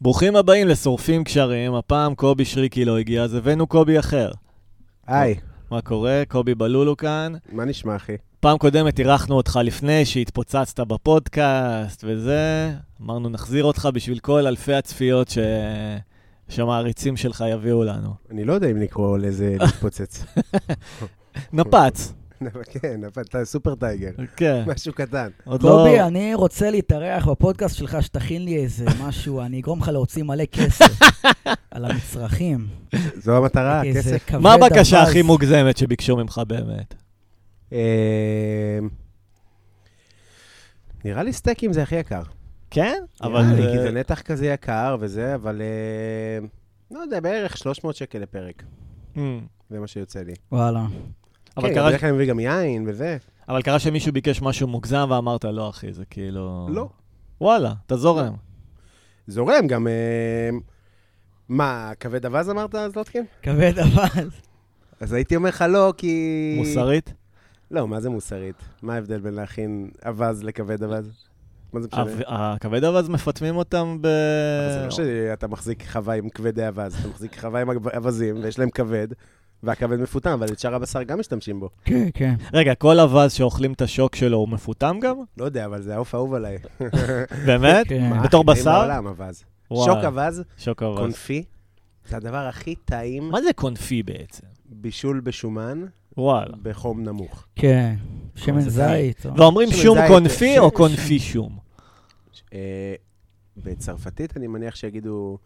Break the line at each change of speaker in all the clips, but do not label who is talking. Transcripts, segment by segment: ברוכים הבאים לשורפים קשרים, הפעם קובי שריקי לא הגיע, אז הבאנו קובי אחר.
היי,
מה קורה? קובי בלולו כאן.
אוקיי. מה נשמע, אחי?
פעם קודמת אירחנו אותך לפני שהתפוצצת בפודקאסט וזה, אמרנו נחזיר אותך בשביל כל אלפי הצפיות ש... שהמעריצים שלך יביאו לנו.
אני לא יודע אם לקרוא לזה להתפוצץ.
נפץ,
כן, אבל אתה סופר טייגר,
כן.
משהו קטן.
עוד לא...
קובי, אני רוצה להתארח בפודקאסט שלך, שתכין לי איזה משהו, אני אגרום לך להוציא מלא כסף על המצרכים.
זו המטרה,
איזה
הכסף.
כבד
מה הבקשה
אווז.
הכי מוגזמת שביקשו ממך באמת?
אמ, נראה לי סטייקים זה הכי יקר.
כן? אבל
נראה לי,
זה-
כי זה נתח כזה יקר וזה, אבל... אמ, לא יודע, בערך 300 שקל לפרק,
Mm.
זה מה שיוצא לי.
וואלה.
אבל
כן,
קרה-
בדרך כלל אני מביא גם יין וזה.
אבל קרה שמישהו ביקש משהו מוגזם ואמרת, לא, אחי, זה כאילו...
לא.
וואלה, אתה זורם.
זורם גם... אמ, מה, כבד אווז אמרת, זלוטקין?
כבד אווז.
אז הייתי אומר לך לא, כי...
מוסרית?
לא, מה זה מוסרית? מה ההבדל בין להכין אווז לכבד אווז? מה זה משנה? לא
הכבד הכבד אווז מפטמים אותם ב...
אז
לא.
אני חושב שאתה מחזיק חווה עם כבדי אווז, אתה מחזיק חווה עם אגב- אווזים, ויש להם כבד, והכבד מפוטם, אבל את שאר הבשר גם משתמשים בו.
כן, כן.
רגע, כל אווז שאוכלים את השוק שלו הוא מפוטם גם?
לא יודע, אבל זה העוף האהוב עליי.
באמת?
כן.
מה,
אה, בתור
הכי טעים
בשר?
בעולם, אווז.
וואו,
שוק אווז,
שוק אווז.
קונפי, זה הדבר הכי טעים,
מה זה קונפי בעצם?
בישול בשומן,
וואלה.
בחום נמוך.
כן. שמן
זה
זית. או-
ואומרים
שמן
שום
זית,
קונפי
ש-
או
ש-
קונפי שום?
אה, בצרפתית אני מניח שיגידו,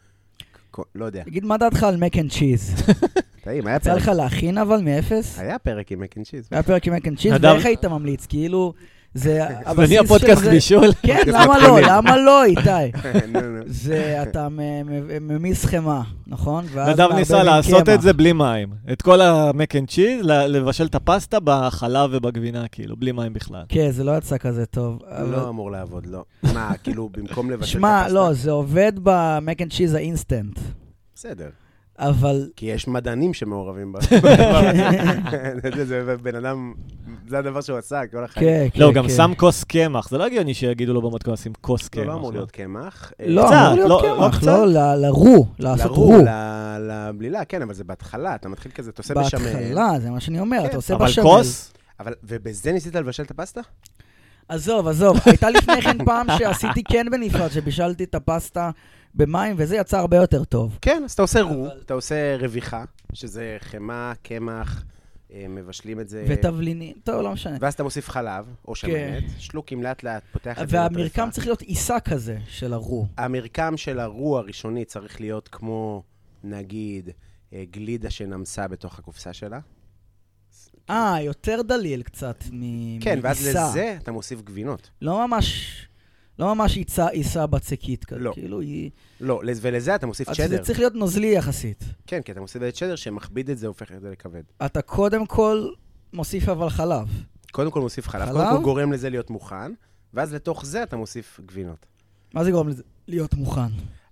ק- לא יודע,
תגיד, מה דעתך על מק אנד צ'יז?
טעים, היה
יצא
פרק.
לך להכין אבל מאפס?
היה פרק עם מק אנד צ'יז.
היה פרק עם מק אנד צ'יז,
נדב-
ואיך היית ממליץ? כאילו, זה הבסיס
אני
של
הפודקאסט
זה-
בישול?
כן,
פודקאסט
למה לא?
מתחילים.
למה לא, איתי?
נו, נו.
זה, אתה מ- מ- ממיס חמאה, נכון? ואז
נדב ניסה
מערבב עם
לעשות
קמח.
את זה בלי מים. את כל המק אנד צ'יז, ל- לבשל את הפסטה בחלב ובגבינה, כאילו, בלי מים בכלל.
כן, זה לא יצא כזה טוב. אבל-
לא אמור לעבוד, לא. מה, כאילו, במקום לבטל את
שמע,
הפסטה?
לא, זה עובד במק אנד צ'יז האינסטנט,
בסדר.
אבל...
כי יש מדענים שמעורבים ב... זה- זה בן אדם, זה הדבר שהוא עשה כל החיים.
כן, כן,
לא, הוא גם
כן.
שם כוס קמח. זה לא הגיוני שיגידו לו במתכון לשים כוס
לא,
קמח.
לא אמור להיות קמח. אה,
לא,
קצת,
אמור
לא-
להיות
לא
קמח,
קצת?
לא, ל- לרו, לעשות
לרו,
רו.
ל- לבלילה, כן, אבל זה בהתחלה, אתה מתחיל כזה, אתה עושה בשמן. כן,
בהתחלה, זה מה שאני אומר, אתה עושה
לא- אבל
בשמן.
כוס?
אבל, ובזה ניסית לבשל את הפסטה?
עזוב, עזוב, הייתה לפני כן פעם שעשיתי כן בנפרד, שבישלתי את הפסטה במים, וזה יצא הרבה יותר טוב.
כן, אז אתה עושה רו, אתה עושה רוויחה, שזה חמאה, קמח, אה, מבשלים את זה.
ותבלינים, טוב, לא משנה.
ואז אתה מוסיף חלב, או
כן.
שמנת, שלוקים לאט לאט, פותח את זה.
והמרקם
לטריפה.
צריך להיות עיסה כזה של הרו.
המרקם של הרו הראשוני צריך להיות כמו, נגיד, אה, גלידה שנמסה בתוך הקופסה שלה.
אה, יותר דליל קצת מ-
כן, ואז
מעיסה.
לזה אתה מוסיף גבינות.
לא ממש, לא ממש עיסה, עיסה בצקית כזה.
לא.
כאילו היא...
לא, לז- ולזה אתה מוסיף
אז זה
צ'דר.
צריך להיות נוזלי יחסית.
כן, כי אתה מוסיף את צ'דר שמכביד את זה, הופך את זה לכבד.
אתה קודם כל מוסיף אבל חלב.
קודם כל מוסיף חלב,
חלב?
קודם כל גורם לזה להיות מוכן, ואז לתוך זה אתה מוסיף גבינות.
מה זה גורם לזה? להיות מוכן.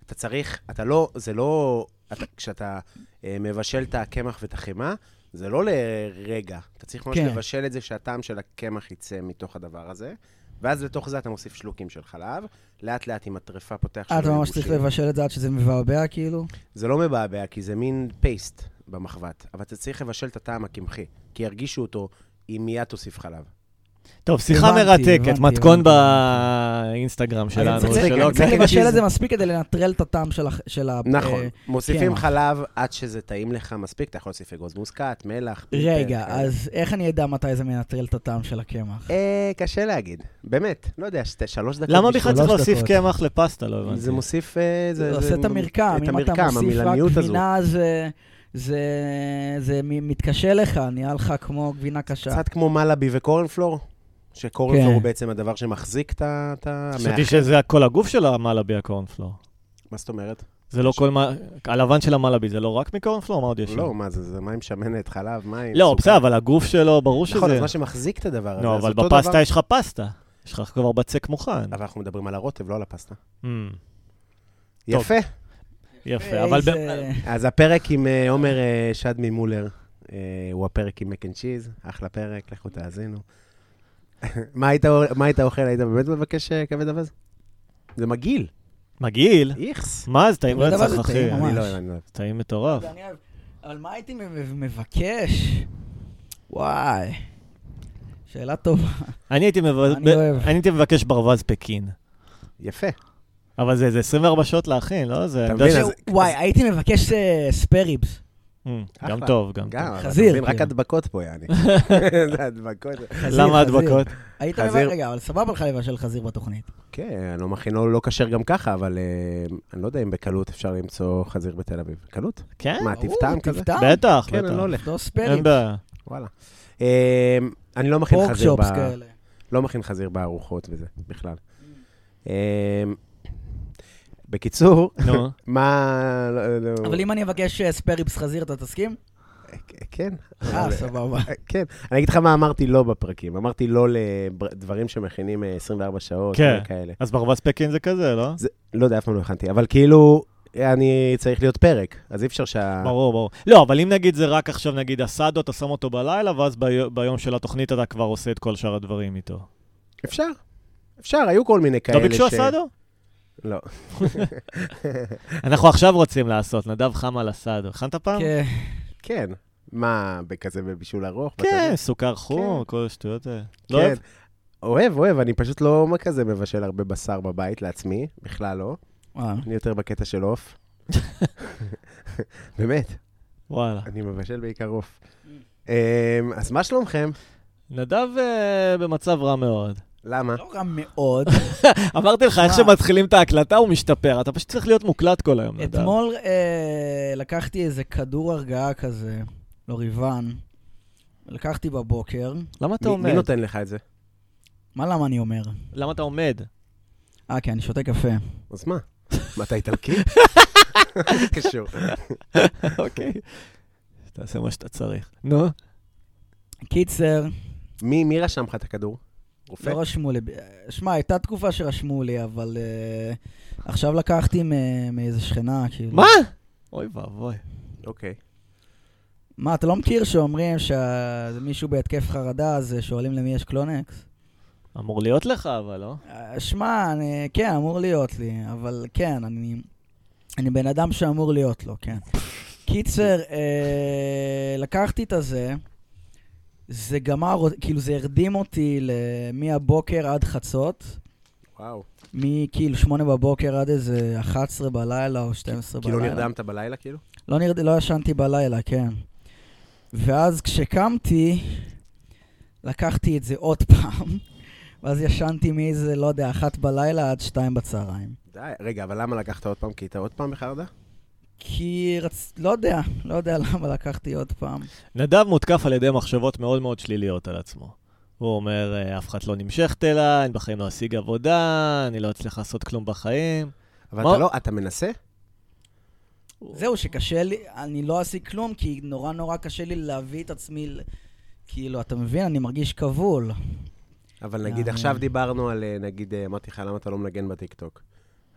אתה צריך, אתה לא, זה לא, אתה, כשאתה אה, מבשל את הקמח ואת החמאה, זה לא לרגע. אתה צריך ממש
כן.
לבשל את זה שהטעם של הקמח יצא מתוך הדבר הזה, ואז לתוך זה אתה מוסיף שלוקים של חלב, לאט לאט עם הטרפה פותח
אה, אתה
שלו
ממש צריך
יבושים.
לבשל את זה עד שזה מבעבע, כאילו?
זה לא מבעבע, כי זה מין פייסט במחבת, אבל אתה צריך לבשל את הטעם הקמחי, כי ירגישו אותו אם מיד תוסיף חלב.
טוב, שיחה
הבנתי,
מרתקת,
הבנתי,
מתכון
הבנתי.
באינסטגרם שלנו. לא-
אז צריך-
זה-
שלא-
זה-
צריך
כן,
לבשל
כי
את
זה-
זה מספיק כדי לנטרל את הטעם של הח- של ה...
נכון,
אה,
מוסיפים
קמח.
חלב עד שזה טעים לך מספיק, אתה יכול להוסיף אגוז מוסקת, מלח. אה, פלפל,
רגע,
כאלה.
אז איך אני אדע מתי זה מנטרל את הטעם של הקמח?
אה, קשה להגיד, באמת, לא יודע, שתי, שלוש דקות.
למה
בשביל-
בכלל צריך
שלוש
להוסיף
דקות.
קמח לפסטה? לא הבנתי.
זה מוסיף... אה,
זה עושה את המרקם.
את
אם
המרקם,
אתה מוסיף רק
המילניות הזו.
גבינה, זה- זה- זה מ- מתקשה לך, נהיה לך כמו גבינה קשה.
קצת כמו מלאבי וקורנפלור, שקורנפלור
כן.
הוא בעצם הדבר שמחזיק את ה... את ה-
חשבתי שזה כל הגוף של המלאבי הקורנפלור.
מה זאת אומרת?
זה לא כל מה... הלבן של המלאבי זה לא רק מקורנפלור? מה עוד יש?
לא,
שם?
מה זה, זה מים שמנת, חלב, מים.
לא,
סוכר.
בסדר, אבל הגוף שלו, ברור שזה...
נכון, אז מה שמחזיק את הדבר הזה,
נו,
אז
אבל
אותו דבר-
בפסטה יש לך פסטה. יש לך כבר בצק מוכן.
אבל אנחנו מדברים על הרוטב, לא על הפסטה.
Mm, טוב.
יפה.
אה,
יפה, אבל... ב-
איזה-
אז הפרק עם אה, עומר אה, שדמי מולר, אה, הוא הפרק עם מק אנד צ'יז, אחלה פרק, לכו תאזינו. מה היית אוכל- מה היית אוכל? היית באמת מבקש אה, כבד אווז? זה מגעיל.
מגעיל?
איכס.
מה, זה טעים
זה דבר
רצח,
זה
אחי.
טעים, ממש.
אני לא אוהב, אני לא אוהב.
טעים מטורף.
ואני אוהב- אבל מה הייתי מב- מבקש? וואי. שאלה טובה.
אני הייתי מבז-
אני
ב-
אוהב.
אני הייתי מבקש ברווז פקין.
יפה.
אבל זה זה 24 שעות להכין, לא? זה...
אתה
אני יודע
מבין,
ש-
אז-
וואי, הייתי מבקש אה, ספייריבס.
אמ, גם
אחלה.
טוב, גם טוב.
גם, אבל אתה
חזיר,
מבין, רק
כאילו.
הדבקות פה, יעני. זה הדבקות.
למה הדבקות?
היית
חזיר.
מבקש, רגע, אבל סבבה לך לבשל חזיר בתוכנית.
כן, אני לא מכין, לא לא כשר גם ככה, אבל אה, אני לא יודע אם בקלות אפשר למצוא חזיר בתל אביב. בקלות?
כן?
מה,
ברור,
טיב טעם אה, כזה?
טיב טעם.
בטח,
כן, אני לא
בטח.
הולך,
לא
אין
ספייריבס,
בעיה.
וואלה. אה, אני לא מכין חזיר ב...
פורקשופס כאלה.
לא מכין חזיר בארוחות וזה, בכלל.
Mm.
אה, בקיצור,
נו.
מה... לא- לא-
אבל אם אני אבקש אה, ספייריבס חזיר, אתה תסכים?
כן,
אה, סבבה.
כן. אני אגיד לך מה אמרתי לא בפרקים. אמרתי לא לדברים שמכינים אה, 24 שעות
כן.
וכאלה.
אז ברווז פקין זה כזה, לא?
זה- לא יודע, אף פעם לא הכנתי, אבל כאילו, אני צריך להיות פרק, אז אי אפשר שה...
ברור, ברור. לא, אבל אם נגיד זה רק עכשיו, נגיד הסאדו, אתה שם אותו בלילה, ואז ביו- ביום של התוכנית אתה כבר עושה את כל שאר הדברים איתו.
אפשר. אפשר, היו כל מיני כאלה
לא ביקשו
ש-
הסאדו?
לא.
אנחנו עכשיו רוצים לעשות, נדב חם על הסאדו. הכנת פעם?
כן.
כן. מה, בכזה בבישול ארוך?
כן,
בצד?
סוכר חום,
כן.
כל השטויות האלה.
כן.
לא אוהב?
אוהב, אוהב, אני פשוט לא כזה מבשל הרבה בשר בבית לעצמי, בכלל לא.
וואו.
אני יותר בקטע של עוף. באמת,
וואלה.
אני מבשל בעיקר עוף. אמ, אז מה שלומכם?
נדב אה, במצב רע מאוד.
למה?
לא רע מאוד.
אמרתי לך, איך
מה?
שמתחילים את ההקלטה הוא משתפר, אתה פשוט צריך להיות מוקלט כל היום, נדב.
אתמול אה, לקחתי איזה כדור הרגעה כזה, לוריבן. לקחתי בבוקר.
למה אתה
מי-
עומד?
מי נותן לך את זה?
מה למה אני אומר?
למה אתה עומד?
אה, כי אני שותה קפה.
אז מה? מה, אתה איטלקי? מה זה קשור?
אוקיי. תעשה מה שאתה צריך. נו.
קיצר,
מי מי רשם לך את הכדור? רופא?
לא רשמו לי. אה, שמע, הייתה תקופה שרשמו לי, אבל אה, עכשיו לקחתי מ- מאיזה שכנה, כאילו.
מה? אוי ואבוי.
אוקיי.
מה, אתה לא מכיר שאומרים שמישהו בהתקף חרדה, אז אה, שואלים למי יש קלונקס?
אמור להיות לך, אבל לא?
אה, שמע, אני- כן, אמור להיות לי, אבל כן, אני... אני בן אדם שאמור להיות לו, כן. קיצר, אה, לקחתי את הזה, זה גמר, אות- כאילו זה הרדים אותי ל- מהבוקר עד חצות,
וואו.
מכאילו שמונה בבוקר עד איזה 11 בלילה או 12 בלילה.
כאילו נרדמת בלילה, כאילו?
לא, נרד... לא ישנתי בלילה, כן. ואז כשקמתי, לקחתי את זה עוד פעם, ואז ישנתי מאיזה, לא יודע, אחת בלילה עד שתיים בצהריים.
די. רגע, אבל למה לקחת עוד פעם? כי אתה עוד פעם בחרדה?
כי רצ... לא יודע, לא יודע למה לקחתי עוד פעם.
נדב מותקף על ידי מחשבות מאוד מאוד שליליות על עצמו. הוא אומר, "אה, אף אחת לא נמשכת אליי, אני בחיים לא אשיג עבודה, אני לא אצליח לעשות כלום בחיים.
אבל
מה?
אתה לא, אתה מנסה?
זהו, שקשה לי, אני לא אעשה כלום, כי נורא נורא קשה לי להביא את עצמי, ל- כאילו, אתה מבין? אני מרגיש כבול.
אבל נגיד
יאללה.
עכשיו דיברנו על, אה, נגיד, אה, אמרתי לך, למה אתה לא מנגן בטיקטוק?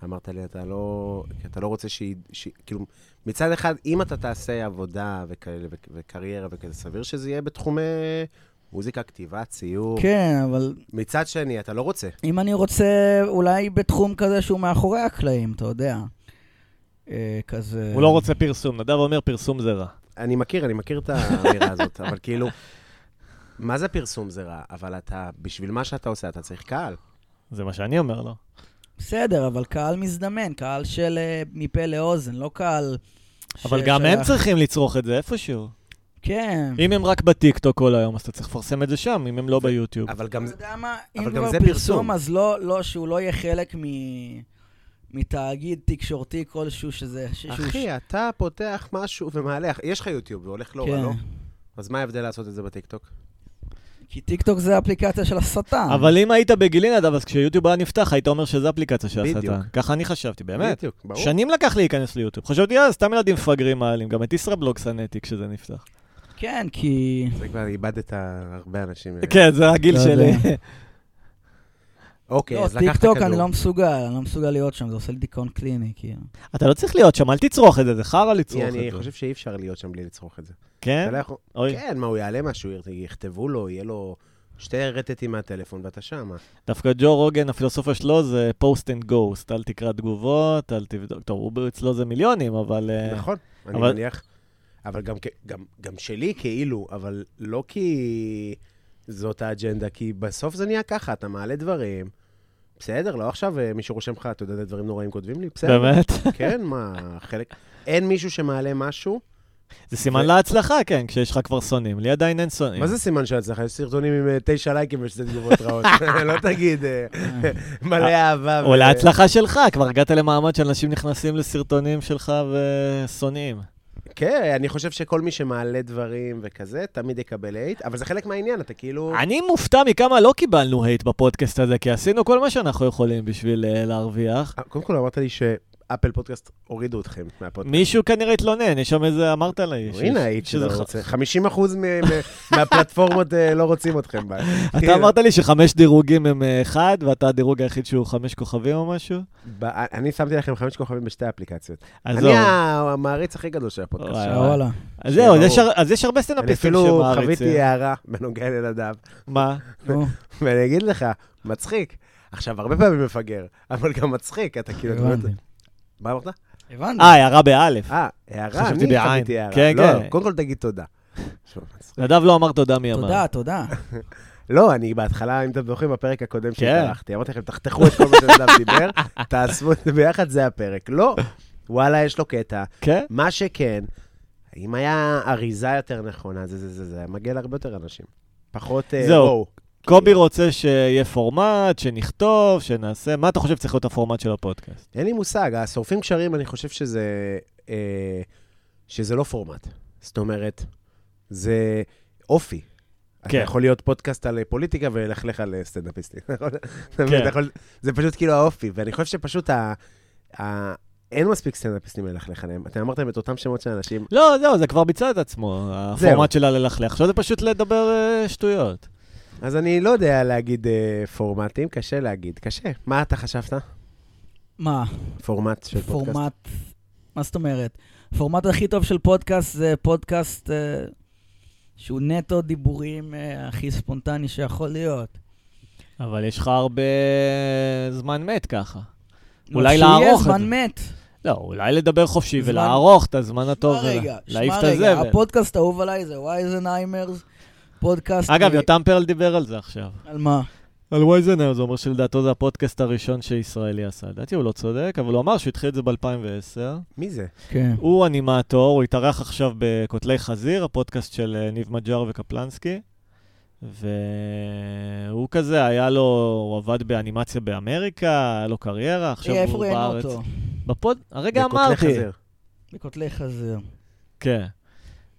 אמרת לי, אתה לא, כי אתה לא רוצה שהיא, שהיא- כאילו, מצד אחד, אם אתה תעשה עבודה וכאלה, ו- וקריירה וכזה, סביר שזה יהיה בתחומי מוזיקה, כתיבה, ציור.
כן, אבל
מצד שני, אתה לא רוצה.
אם אני רוצה, אולי בתחום כזה שהוא מאחורי הקלעים, אתה יודע. אה, כזה...
הוא לא רוצה פרסום, נדב אומר, פרסום זה רע.
אני מכיר, אני מכיר את האמירה הזאת, אבל כאילו, מה זה פרסום זה רע? אבל אתה, בשביל מה שאתה עושה, אתה צריך קהל.
זה מה שאני אומר לא? לו.
בסדר, אבל קהל מזדמן, קהל של אה, מפה לאוזן, לא קהל...
אבל
ש-
גם
שייך-
הם צריכים לצרוך את זה איפשהו.
כן.
אם הם רק בטיקטוק כל היום, אז אתה צריך לפרסם את זה שם, אם הם לא ביוטיוב.
אבל
אתה
גם,
יודע מה,
אבל
אם
גם
כבר
זה פרסום.
פרסום, אז לא, לא, שהוא לא יהיה חלק מ... מתאגיד תקשורתי כלשהו שזה... ש- שהוא- כן. ש-
אחי, אתה פותח משהו ומעלה, יש לך יוטיוב והולך לא רע,
כן.
לא? אז מה ההבדל לעשות את זה בטיקטוק?
כי טיקטוק זה אפליקציה של
אה.
השטן.
אבל אם היית בגילי נדב, אז כשיוטיוב היה נפתח, היית אומר שזו אפליקציה של
בדיוק.
השטן. ככה אני חשבתי, באמת.
בדיוק, ברור.
שנים לקח לי להיכנס ליוטיוב. חשבתי, אה, סתם ילדים מפגרים מעלים. גם את ישראבלוג שנאתי כשזה נפתח.
כן, כי...
זה כבר איבדת הרבה אנשים.
כן, זה הגיל
לא
שלי.
יודע.
אוקיי,
לא,
אז לקחת
טיקטוק אני
כדור.
לא מסוגל, אני לא מסוגל להיות שם, זה עושה לי דיכאון קליני, כאילו.
אתה לא צריך להיות שם, אל תצרוך את זה, זה חרא לצרוך את זה.
אני חושב שאי אפשר להיות שם בלי לצרוך את זה.
כן?
אתה לא יכול-
אוי.
כן, מה, הוא יעלה משהו, יכתבו לו, יהיה לו שתי רטטים מהטלפון ואתה שמה.
דווקא ג'ו רוגן, הפילוסופיה שלו זה פוסט אנד גוסט, אל תקרא תגובות, אל תבדוק. טוב, הוא אצלו זה מיליונים, אבל... אה,
נכון, אני
אבל-
מניח. אבל גם, כ- גם, גם שלי כאילו, אבל לא כי זאת האג'נדה, כי בסוף זה נהיה ככה, אתה מעלה דברים. בסדר, לא עכשיו אה, מישהו רושם לך, אתה יודע, דברים נוראים כותבים לי? בסדר.
באמת?
כן, מה, חלק... אין מישהו שמעלה משהו?
זה סימן
ו-
להצלחה, כן, כשיש לך כבר שונאים. לי עדיין אין שונאים.
מה זה סימן של הצלחה? יש סרטונים עם אה, תשע לייקים ושתי תגובות רעות. לא תגיד, אה, מלא אהבה.
או
ו-
להצלחה שלך, כבר הגעת למעמד שאנשים נכנסים לסרטונים שלך ושונאים.
כן, אני חושב שכל מי שמעלה דברים וכזה, תמיד יקבל אייט, אבל זה חלק מהעניין, אתה כאילו...
אני מופתע מכמה לא קיבלנו הייט בפודקאסט הזה, כי עשינו כל מה שאנחנו יכולים בשביל אה, להרוויח.
אה, קודם כל אמרת לי שאפל פודקאסט הורידו אתכם מהפודקאסט.
מישהו כנראה התלונן, יש שם איזה, אמרת לי. ש-
אוקיי. הנה היית
שזה
שזה
ח-
רוצה. 50% מ- מ- מהפלטפורמות אה, לא רוצים אתכם. בה. כאילו,
אתה אמרת לי שחמש דירוגים הם אה, אחד, ואתה הדירוג היחיד שהוא חמש כוכבים או משהו?
ב- אה, אני שמתי לכם חמש כוכבים בשתי האפליקציות.
אז זהו.
אני ה- המעריץ הכי גדול של הפודקאסט.
וואי,
שלנו.
וואי.
אה, וואלה.
אז זהו, אז
ברור.
יש הר- אז יש הרבה
אני
סטנדאפיסטים
אפילו חוויתי
שמעריצים.
הערה בנוגע לנדב,
מה?
נו,
ואני אגיד לך, מצחיק. עכשיו, הרבה פעמים מפגר, אבל גם מצחיק, אתה כאילו... אתה באמת-
הבנתי.
מה אמרת?
הבנתי.
אה, הערה באלף.
אה, הערה,
חשבתי
אני
בעין.
חוויתי הערה.
כן,
לא,
כן.
קודם כל תגיד תודה. שוב, מצחיק.
נדב לא אמר תודה מי אמר.
תודה, תודה.
לא, אני בהתחלה, אם אתם זוכרים, בפרק הקודם
כן.
שהתארחתי, אמרתי לכם, תחתכו את כל מה שנדב דיבר, תעשו את זה ביחד, זה הפרק. לא, וואלה, יש לו קטע.
כן?
מה שכן, אם היה אריזה יותר נכונה, זה זה זה, זה היה מגיע להרבה יותר אנשים. פחות... אה,
זהו.
וואו.
קובי רוצה שיהיה פורמט, שנכתוב, שנעשה. מה אתה חושב שצריך להיות הפורמט של הפודקאסט?
אין לי מושג, השורפים קשרים, אני חושב שזה, אה, שזה לא פורמט. זאת אומרת, זה אופי. אתה
כן.
יכול להיות פודקאסט על אה, פוליטיקה ולכלך על אה, סטנדאפיסטים. נכון? אתה
כן.
יכול- זה פשוט כאילו האופי, ואני חושב שפשוט ה... ה- אין מספיק סטנדאפיסטים ללכלך עליהם. אתם אמרתם את אותם שמות של אנשים.
לא, זהו, זה כבר ביצע את עצמו, הפורמט שלה ללכלך. עכשיו זה פשוט לדבר אה, שטויות.
אז אני לא יודע להגיד אה, פורמטים, קשה להגיד, קשה. מה אתה חשבת?
מה,
פורמט של פודקאסט?
פורמט... מה זאת אומרת? הפורמט הכי טוב של פודקאסט זה פודקאסט אה, שהוא נטו דיבורים אה, הכי ספונטני שיכול להיות.
אבל יש לך הרבה זמן מת ככה. אולי
רק שיהיה
לערוך את זה.
זמן מת.
לא, אולי לדבר חופשי
זמן-
ולערוך את הזמן הטוב.
שמע רגע,
ולה- להעיף
שמע
את
רגע,
הזבל.
הפודקאסט האהוב עליי זה וייזנהיימרס, פודקאסט...
אגב,
מ-
יותם פרל דיבר על זה עכשיו.
על מה?
על וייזנר, זה אומר שלדעתו זה הפודקאסט הראשון שישראלי עשה. לדעתי הוא לא צודק, אבל הוא אמר שהוא התחיל את זה ב-2010.
מי זה?
כן.
הוא אנימטור, הוא התארח עכשיו בקוטלי חזיר, הפודקאסט של אה, ניב מג'אר וקפלנסקי. והוא כזה, היה לו, הוא עבד באנימציה באמריקה, היה לו קריירה, עכשיו
איפה
הוא
ראינו
בארץ.
אותו?
בפוד... הרגע
בקוטלי
אמרתי.
חזיר.
בקוטלי חזיר.
כן.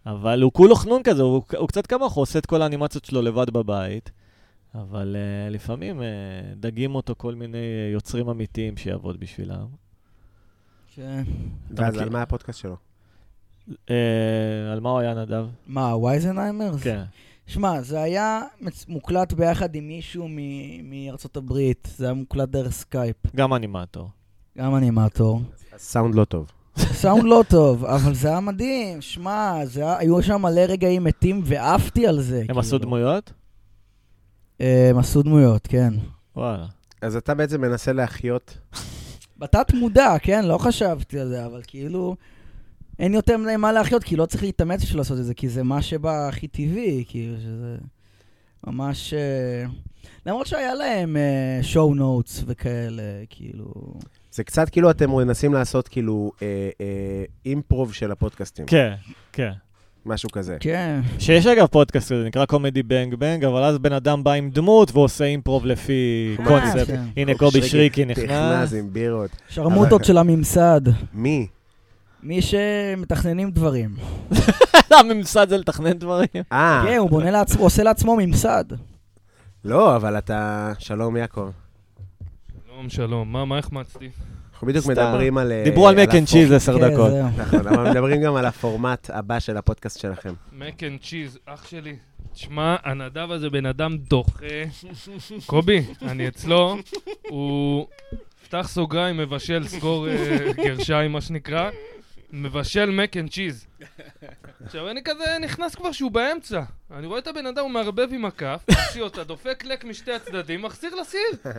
אבל הוא כולו חנון כזה, הוא, הוא קצת כמוך, הוא עושה את כל האנימציות שלו לבד בבית, אבל uh, לפעמים uh, דגים אותו כל מיני אה, יוצרים אמיתיים שיעבוד בשבילם.
ש-
ואז
מכיר?
על מה הפודקאסט שלו?
Uh, על מה הוא היה נדב?
מה, וייזנהיימרס?
כן.
שמע, זה היה מצ- מוקלט ביחד עם מישהו מ- מארצות הברית, זה היה מוקלט דרך סקייפ.
גם אנימטור.
גם אנימטור.
סאונד לא טוב.
סאונד לא טוב, אבל זה היה מדהים, שמע, זה היה- היו שם מלא רגעים מתים ועפתי על זה.
הם
כאילו.
עשו דמויות?
אה, הם עשו דמויות, כן.
וואלה.
אז אתה בעצם מנסה להחיות
בתת מודע, כן, לא חשבתי על זה, אבל כאילו... אין יותר מדי מה להחיות, כי לא צריך להתאמץ בשביל לעשות את זה, כי זה מה שבא הכי טבעי, כאילו, שזה ממש... אה, למרות שהיה להם שואו נוטס וכאלה, כאילו...
זה קצת כאילו אתם מנסים לעשות כאילו אה, אה, אימפרוב של הפודקאסטים,
כן, כן.
משהו כזה.
כן.
שיש אגב פודקאסט כזה, נקרא קומדי בנג בנג, אבל אז בן אדם בא עם דמות והוא עושה אימפרוב לפי
אה,
קונספט.
כן.
הנה קובי שריקי נכנס.
נכנס עם בירות.
שרמוטות של הממסד.
מי?
מי שמתכננים דברים.
הממסד זה לתכנן דברים.
אה,
כן, הוא בונה לעצמו, עושה לעצמו ממסד.
לא, אבל אתה... שלום, יעקב.
שלום, שלום. מה, מה החמצתי?
אנחנו בדיוק
סתם.
מדברים על... אה,
דיברו על
על
מק אנד
הפור-
צ'יז עשר
כן,
דקות.
זהו.
נכון, אבל מדברים גם על הפורמט הבא של הפודקאסט שלכם.
מק אנד צ'יז, אח שלי. תשמע, הנדב הזה בן אדם דוחה. קובי, אני אצלו, הוא... פתח סוגריים, מבשל, סגור אה, גרשיים, מה שנקרא. מבשל מק אנד צ'יז. עכשיו, אני כזה נכנס כבר שהוא באמצע. אני רואה את הבן אדם, הוא מערבב עם הכף, מוציא אותה, דופק לק משתי הצדדים, מחזיר לסיר.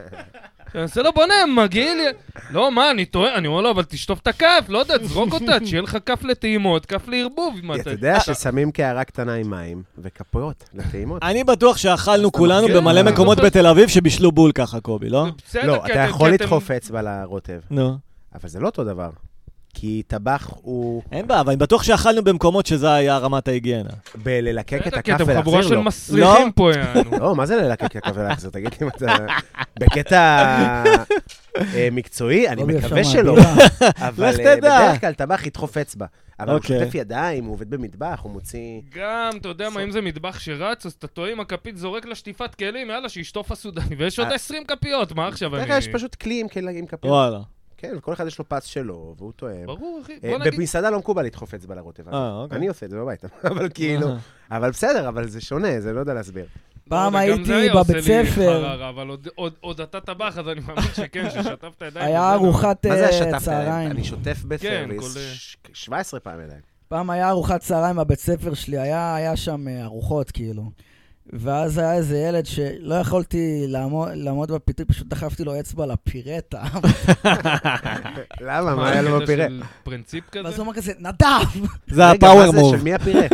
אני עושה לו, בוא'נה, מגעיל. לא, מה, אני טועה, אני אומר לו, אבל תשטוף את הכף, לא יודע, תזרוק אותה, תשיהיה לך כף לטעימות, כף לערבוב. אם
אתה יודע ששמים קערה קטנה עם מים וכפות לטעימות.
אני בטוח שאכלנו כולנו
מכיר?
במלא
אה.
מקומות בתל אביב שבישלו בול ככה, קובי, לא?
זה בסדר,
לא,
כי
אתה
אתם-
יכול
כי אתם-
לדחוף אצבע לרוטב,
נו.
אבל זה לא אותו דבר. כי טבח הוא
אין בעיה, אבל אני בטוח שאכלנו במקומות שזה היה רמת ההיגיינה.
כן. בללקק את
בסדר,
הכף
כי אתם חבורה
ולהחזיר
של
לו.
מסריחים פה, יענו.
לא, מה זה ללקק את הכף ולהחזיר? תגיד לי אם אתה... בקטע אה, מקצועי, אני
קובי,
מקווה
אפשר
שלא.
מהבירה.
אבל
לך
אה,
תדע.
בדרך כלל טבח ידחוף אצבע. אבל הוא
אוקיי.
שוטף ידיים, הוא עובד במטבח, הוא מוציא...
גם, אתה יודע מה, אם זה מטבח שרץ, אז אתה טועה עם הכפית, זורק לה שטיפת כלים, יאללה, שישטוף הסודני, ויש עוד
אה.
20 כפיות, מה עכשיו אני...
ככה יש פשוט כלי עם כלים עם כפיות.
וואלה.
כן, וכל אחד יש לו פס שלו, והוא תואם.
ברור, אחי,
אה,
בוא נגיד...
במסעדה לא מקובל לדחוף אצבע לרוטב. אגב.
אה, אוקיי. אה.
אני עושה את זה בבית, אבל כאילו... אבל בסדר, אבל זה שונה, זה לא יודע להסביר.
פעם
לא יודע, גם זה
הייתי
היה עושה
בבית
לי
ספר,
חררה, אבל עוד- עוד- עוד אתה טבח, אז אני מאמין שכן, ששטפת ידיים. לא-
היה
וזהו.
ארוחת
מה זה
אה,
השטפת
צהריים.
להם? אני שוטף
כל,
בסרוויס
אה,
ש- 17 פעם ידיים.
פעם היה ארוחת צהריים בבית ספר שלי, היה, היה שם אה, ארוחות כאילו. ואז היה איזה ילד שלא יכולתי לעמוד, לעמוד בפיתוי, פשוט דחפתי לו אצבע לפירטה.
למה? מה היה לו
הקטע
בפירה?
של פרינציפ כזה?
ואז הוא אמר כזה, נדב!
זה
רגע, מה
הפאוור
זה?
מוב.
של מי הפירה?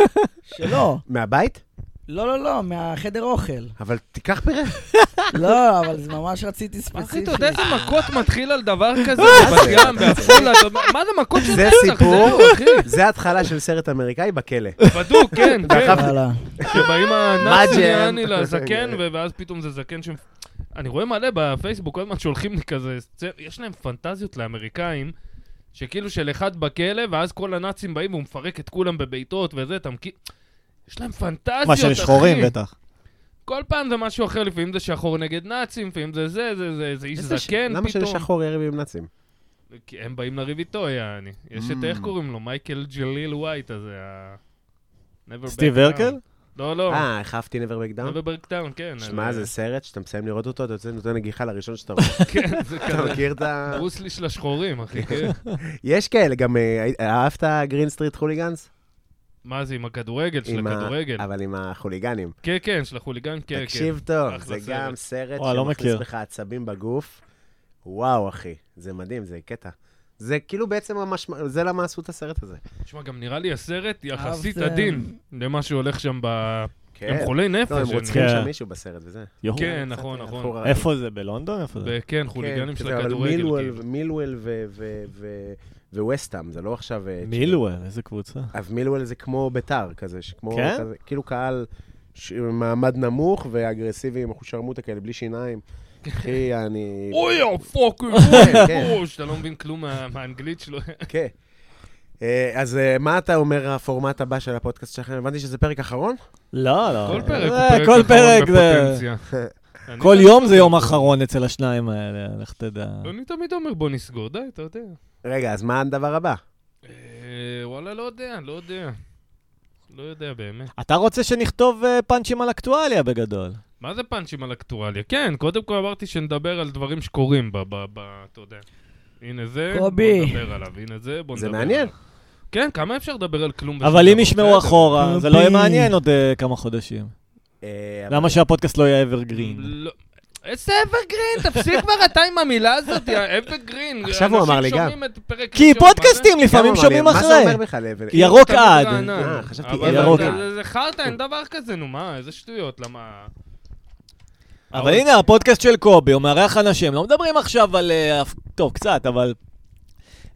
שלא.
מהבית?
לא, לא, לא, מהחדר אוכל.
אבל תיקח פירה.
לא, אבל זה ממש רציתי
אחי,
ספציפית.
אתה יודע איזה מכות מתחיל על דבר כזה? בבת ים, בעפולה, אתה יודע- מה זה מכות של
זה
רצח?
סיפור.
זהו, לא, אחי.
זה התחלה של סרט אמריקאי בכלא.
בדוק, כן, כן.
דחף-
וואלה.
שבאים הנאצים,
מג'ן.
יעני, לזקן, ו- ואז פתאום זה זקן ש... אני רואה מלא בפייסבוק, כל הזמן שולחים לי כזה, סצ- יש להם פנטזיות לאמריקאים, שכאילו של אחד בכלא, ואז כל הנאצים באים והוא מפרק את כולם בביתות וזה, אתה מכיר... יש להם פנטזיות,
מה, של
אחי.
שחורים בטח.
כל פעם זה משהו אחר, לפעמים זה שחור נגד נאצים, לפעמים זה זה, זה, זה, זה איש
איזה ש-
זקן
למה שזה
פתאום.
שחור יריב עם נאצים?
כי הם באים לריב איתו, יעני. יש את,
Mm.
איך קוראים לו? מייקל ג'ליל ווייט הזה, ה... Never
סטיב
Back Down.
הרקל?
לא, לא.
אה, חפתי נבר בקדאון?
Never Back Down, כן.
שמע,
אז-
זה סרט שאתה מסיים לראות אותו, אתה יוצא נותן נגיחה לראשון שאתה רואה.
כן, זה
אתה
כזה.
מכיר את ה...
ברוסלי של השחורים, אחי. כן.
יש כאלה, גם אה, אהבת גרין סטריט חוליגנס?
מה זה, עם הכדורגל, של
עם ה-
הכדורגל.
אבל עם החוליגנים.
כן, כן, של החוליגן, כן, כן.
תקשיב טוב, זה
אחלה סרט.
גם סרט
וואי, לא
שמכניס
מכיר.
בך עצבים בגוף. וואו, אחי, זה מדהים, זה קטע. זה כאילו בעצם המשמעות, זה למה עשו את הסרט הזה.
תשמע, גם נראה לי הסרט יחסית
אהבתם.
עדין למה שהולך שם ב... הם
כן.
חולי נפש.
לא, הם
אני-
רוצחים
כן.
שם מישהו בסרט וזה.
יואו.
כן, נכון, נכון.
בחור-
איפה זה? בלונדון? איפה זה?
ב- כן, חוליגנים
כן,
של
זה, אבל
הכדורגל.
מילוול-
כאילו.
מילוול ו- ו- ו- וווסטהאם, זה לא עכשיו... אה, כאילו.
מילואל, איזה קבוצה.
אז מילואל זה כמו ביתר כזה, שכמו,
כן?
כזה, כאילו קהל ש... מעמד נמוך ואגרסיבי עם אחושרמוטה כאלה, בלי שיניים. אחי, אני...
כן. אוי, יא פאקינג,
כן, כן.
אוי, שאתה לא מבין כלום מה- מהאנגלית שלו.
כן. אה, אז אה, מה אתה אומר הפורמט הבא של הפודקאסט שלכם? הבנתי שזה פרק אחרון?
לא, לא.
כל פרק
אה,
הוא פרק
כל
אחרון
פרק זה-
בפוטנציה. אני
כל
לא-
יום זה יום אחרון אצל השניים האלה, לך תדע.
אני תמיד אומר, בוא נסגור, די, אתה יודע.
רגע, אז מה הדבר הבא?
אה, וואלה, לא יודע, לא יודע. לא יודע באמת.
אתה רוצה שנכתוב אה, פאנצ'ים על אקטואליה בגדול.
מה זה פאנצ'ים על אקטואליה? כן, קודם כל אמרתי שנדבר על דברים שקורים ב... ב... ב... אתה יודע. הנה זה,
קובי.
בוא נדבר עליו, הנה זה, בוא
זה
נדבר
מעניין.
עליו. כן, כמה אפשר לדבר על כלום? ושום
אבל אם
דבר?
ישמעו
בסדר.
אחורה, זה לא יהיה
קובי.
מעניין עוד אה, כמה חודשים.
אה, אבל-
למה שהפודקאסט לא יהיה אברגרין?
לא. איזה אברגרין, תפסיק כבר אתה עם המילה הזאת, יא אברגרין.
עכשיו הוא אמר לי גם.
אנשים שומעים את פרק
כי
ראשון, מה זה?
פודקאסטים לפעמים
כמה,
שומעים
לא, מה זה- מה זה
אחרי.
אומר בכלל? אבל-
כי ירוק
תמיד
עד.
רענן.
אה, חשבתי
אבל
ירוק
זה-
עד.
זה- זה חרטא, אין דבר כזה, נו מה, איזה שטויות, למה...
אבל הנה, הפודקאסט של קובי, הוא מארח אנשים, לא מדברים עכשיו על... אה, אף- טוב, קצת, אבל...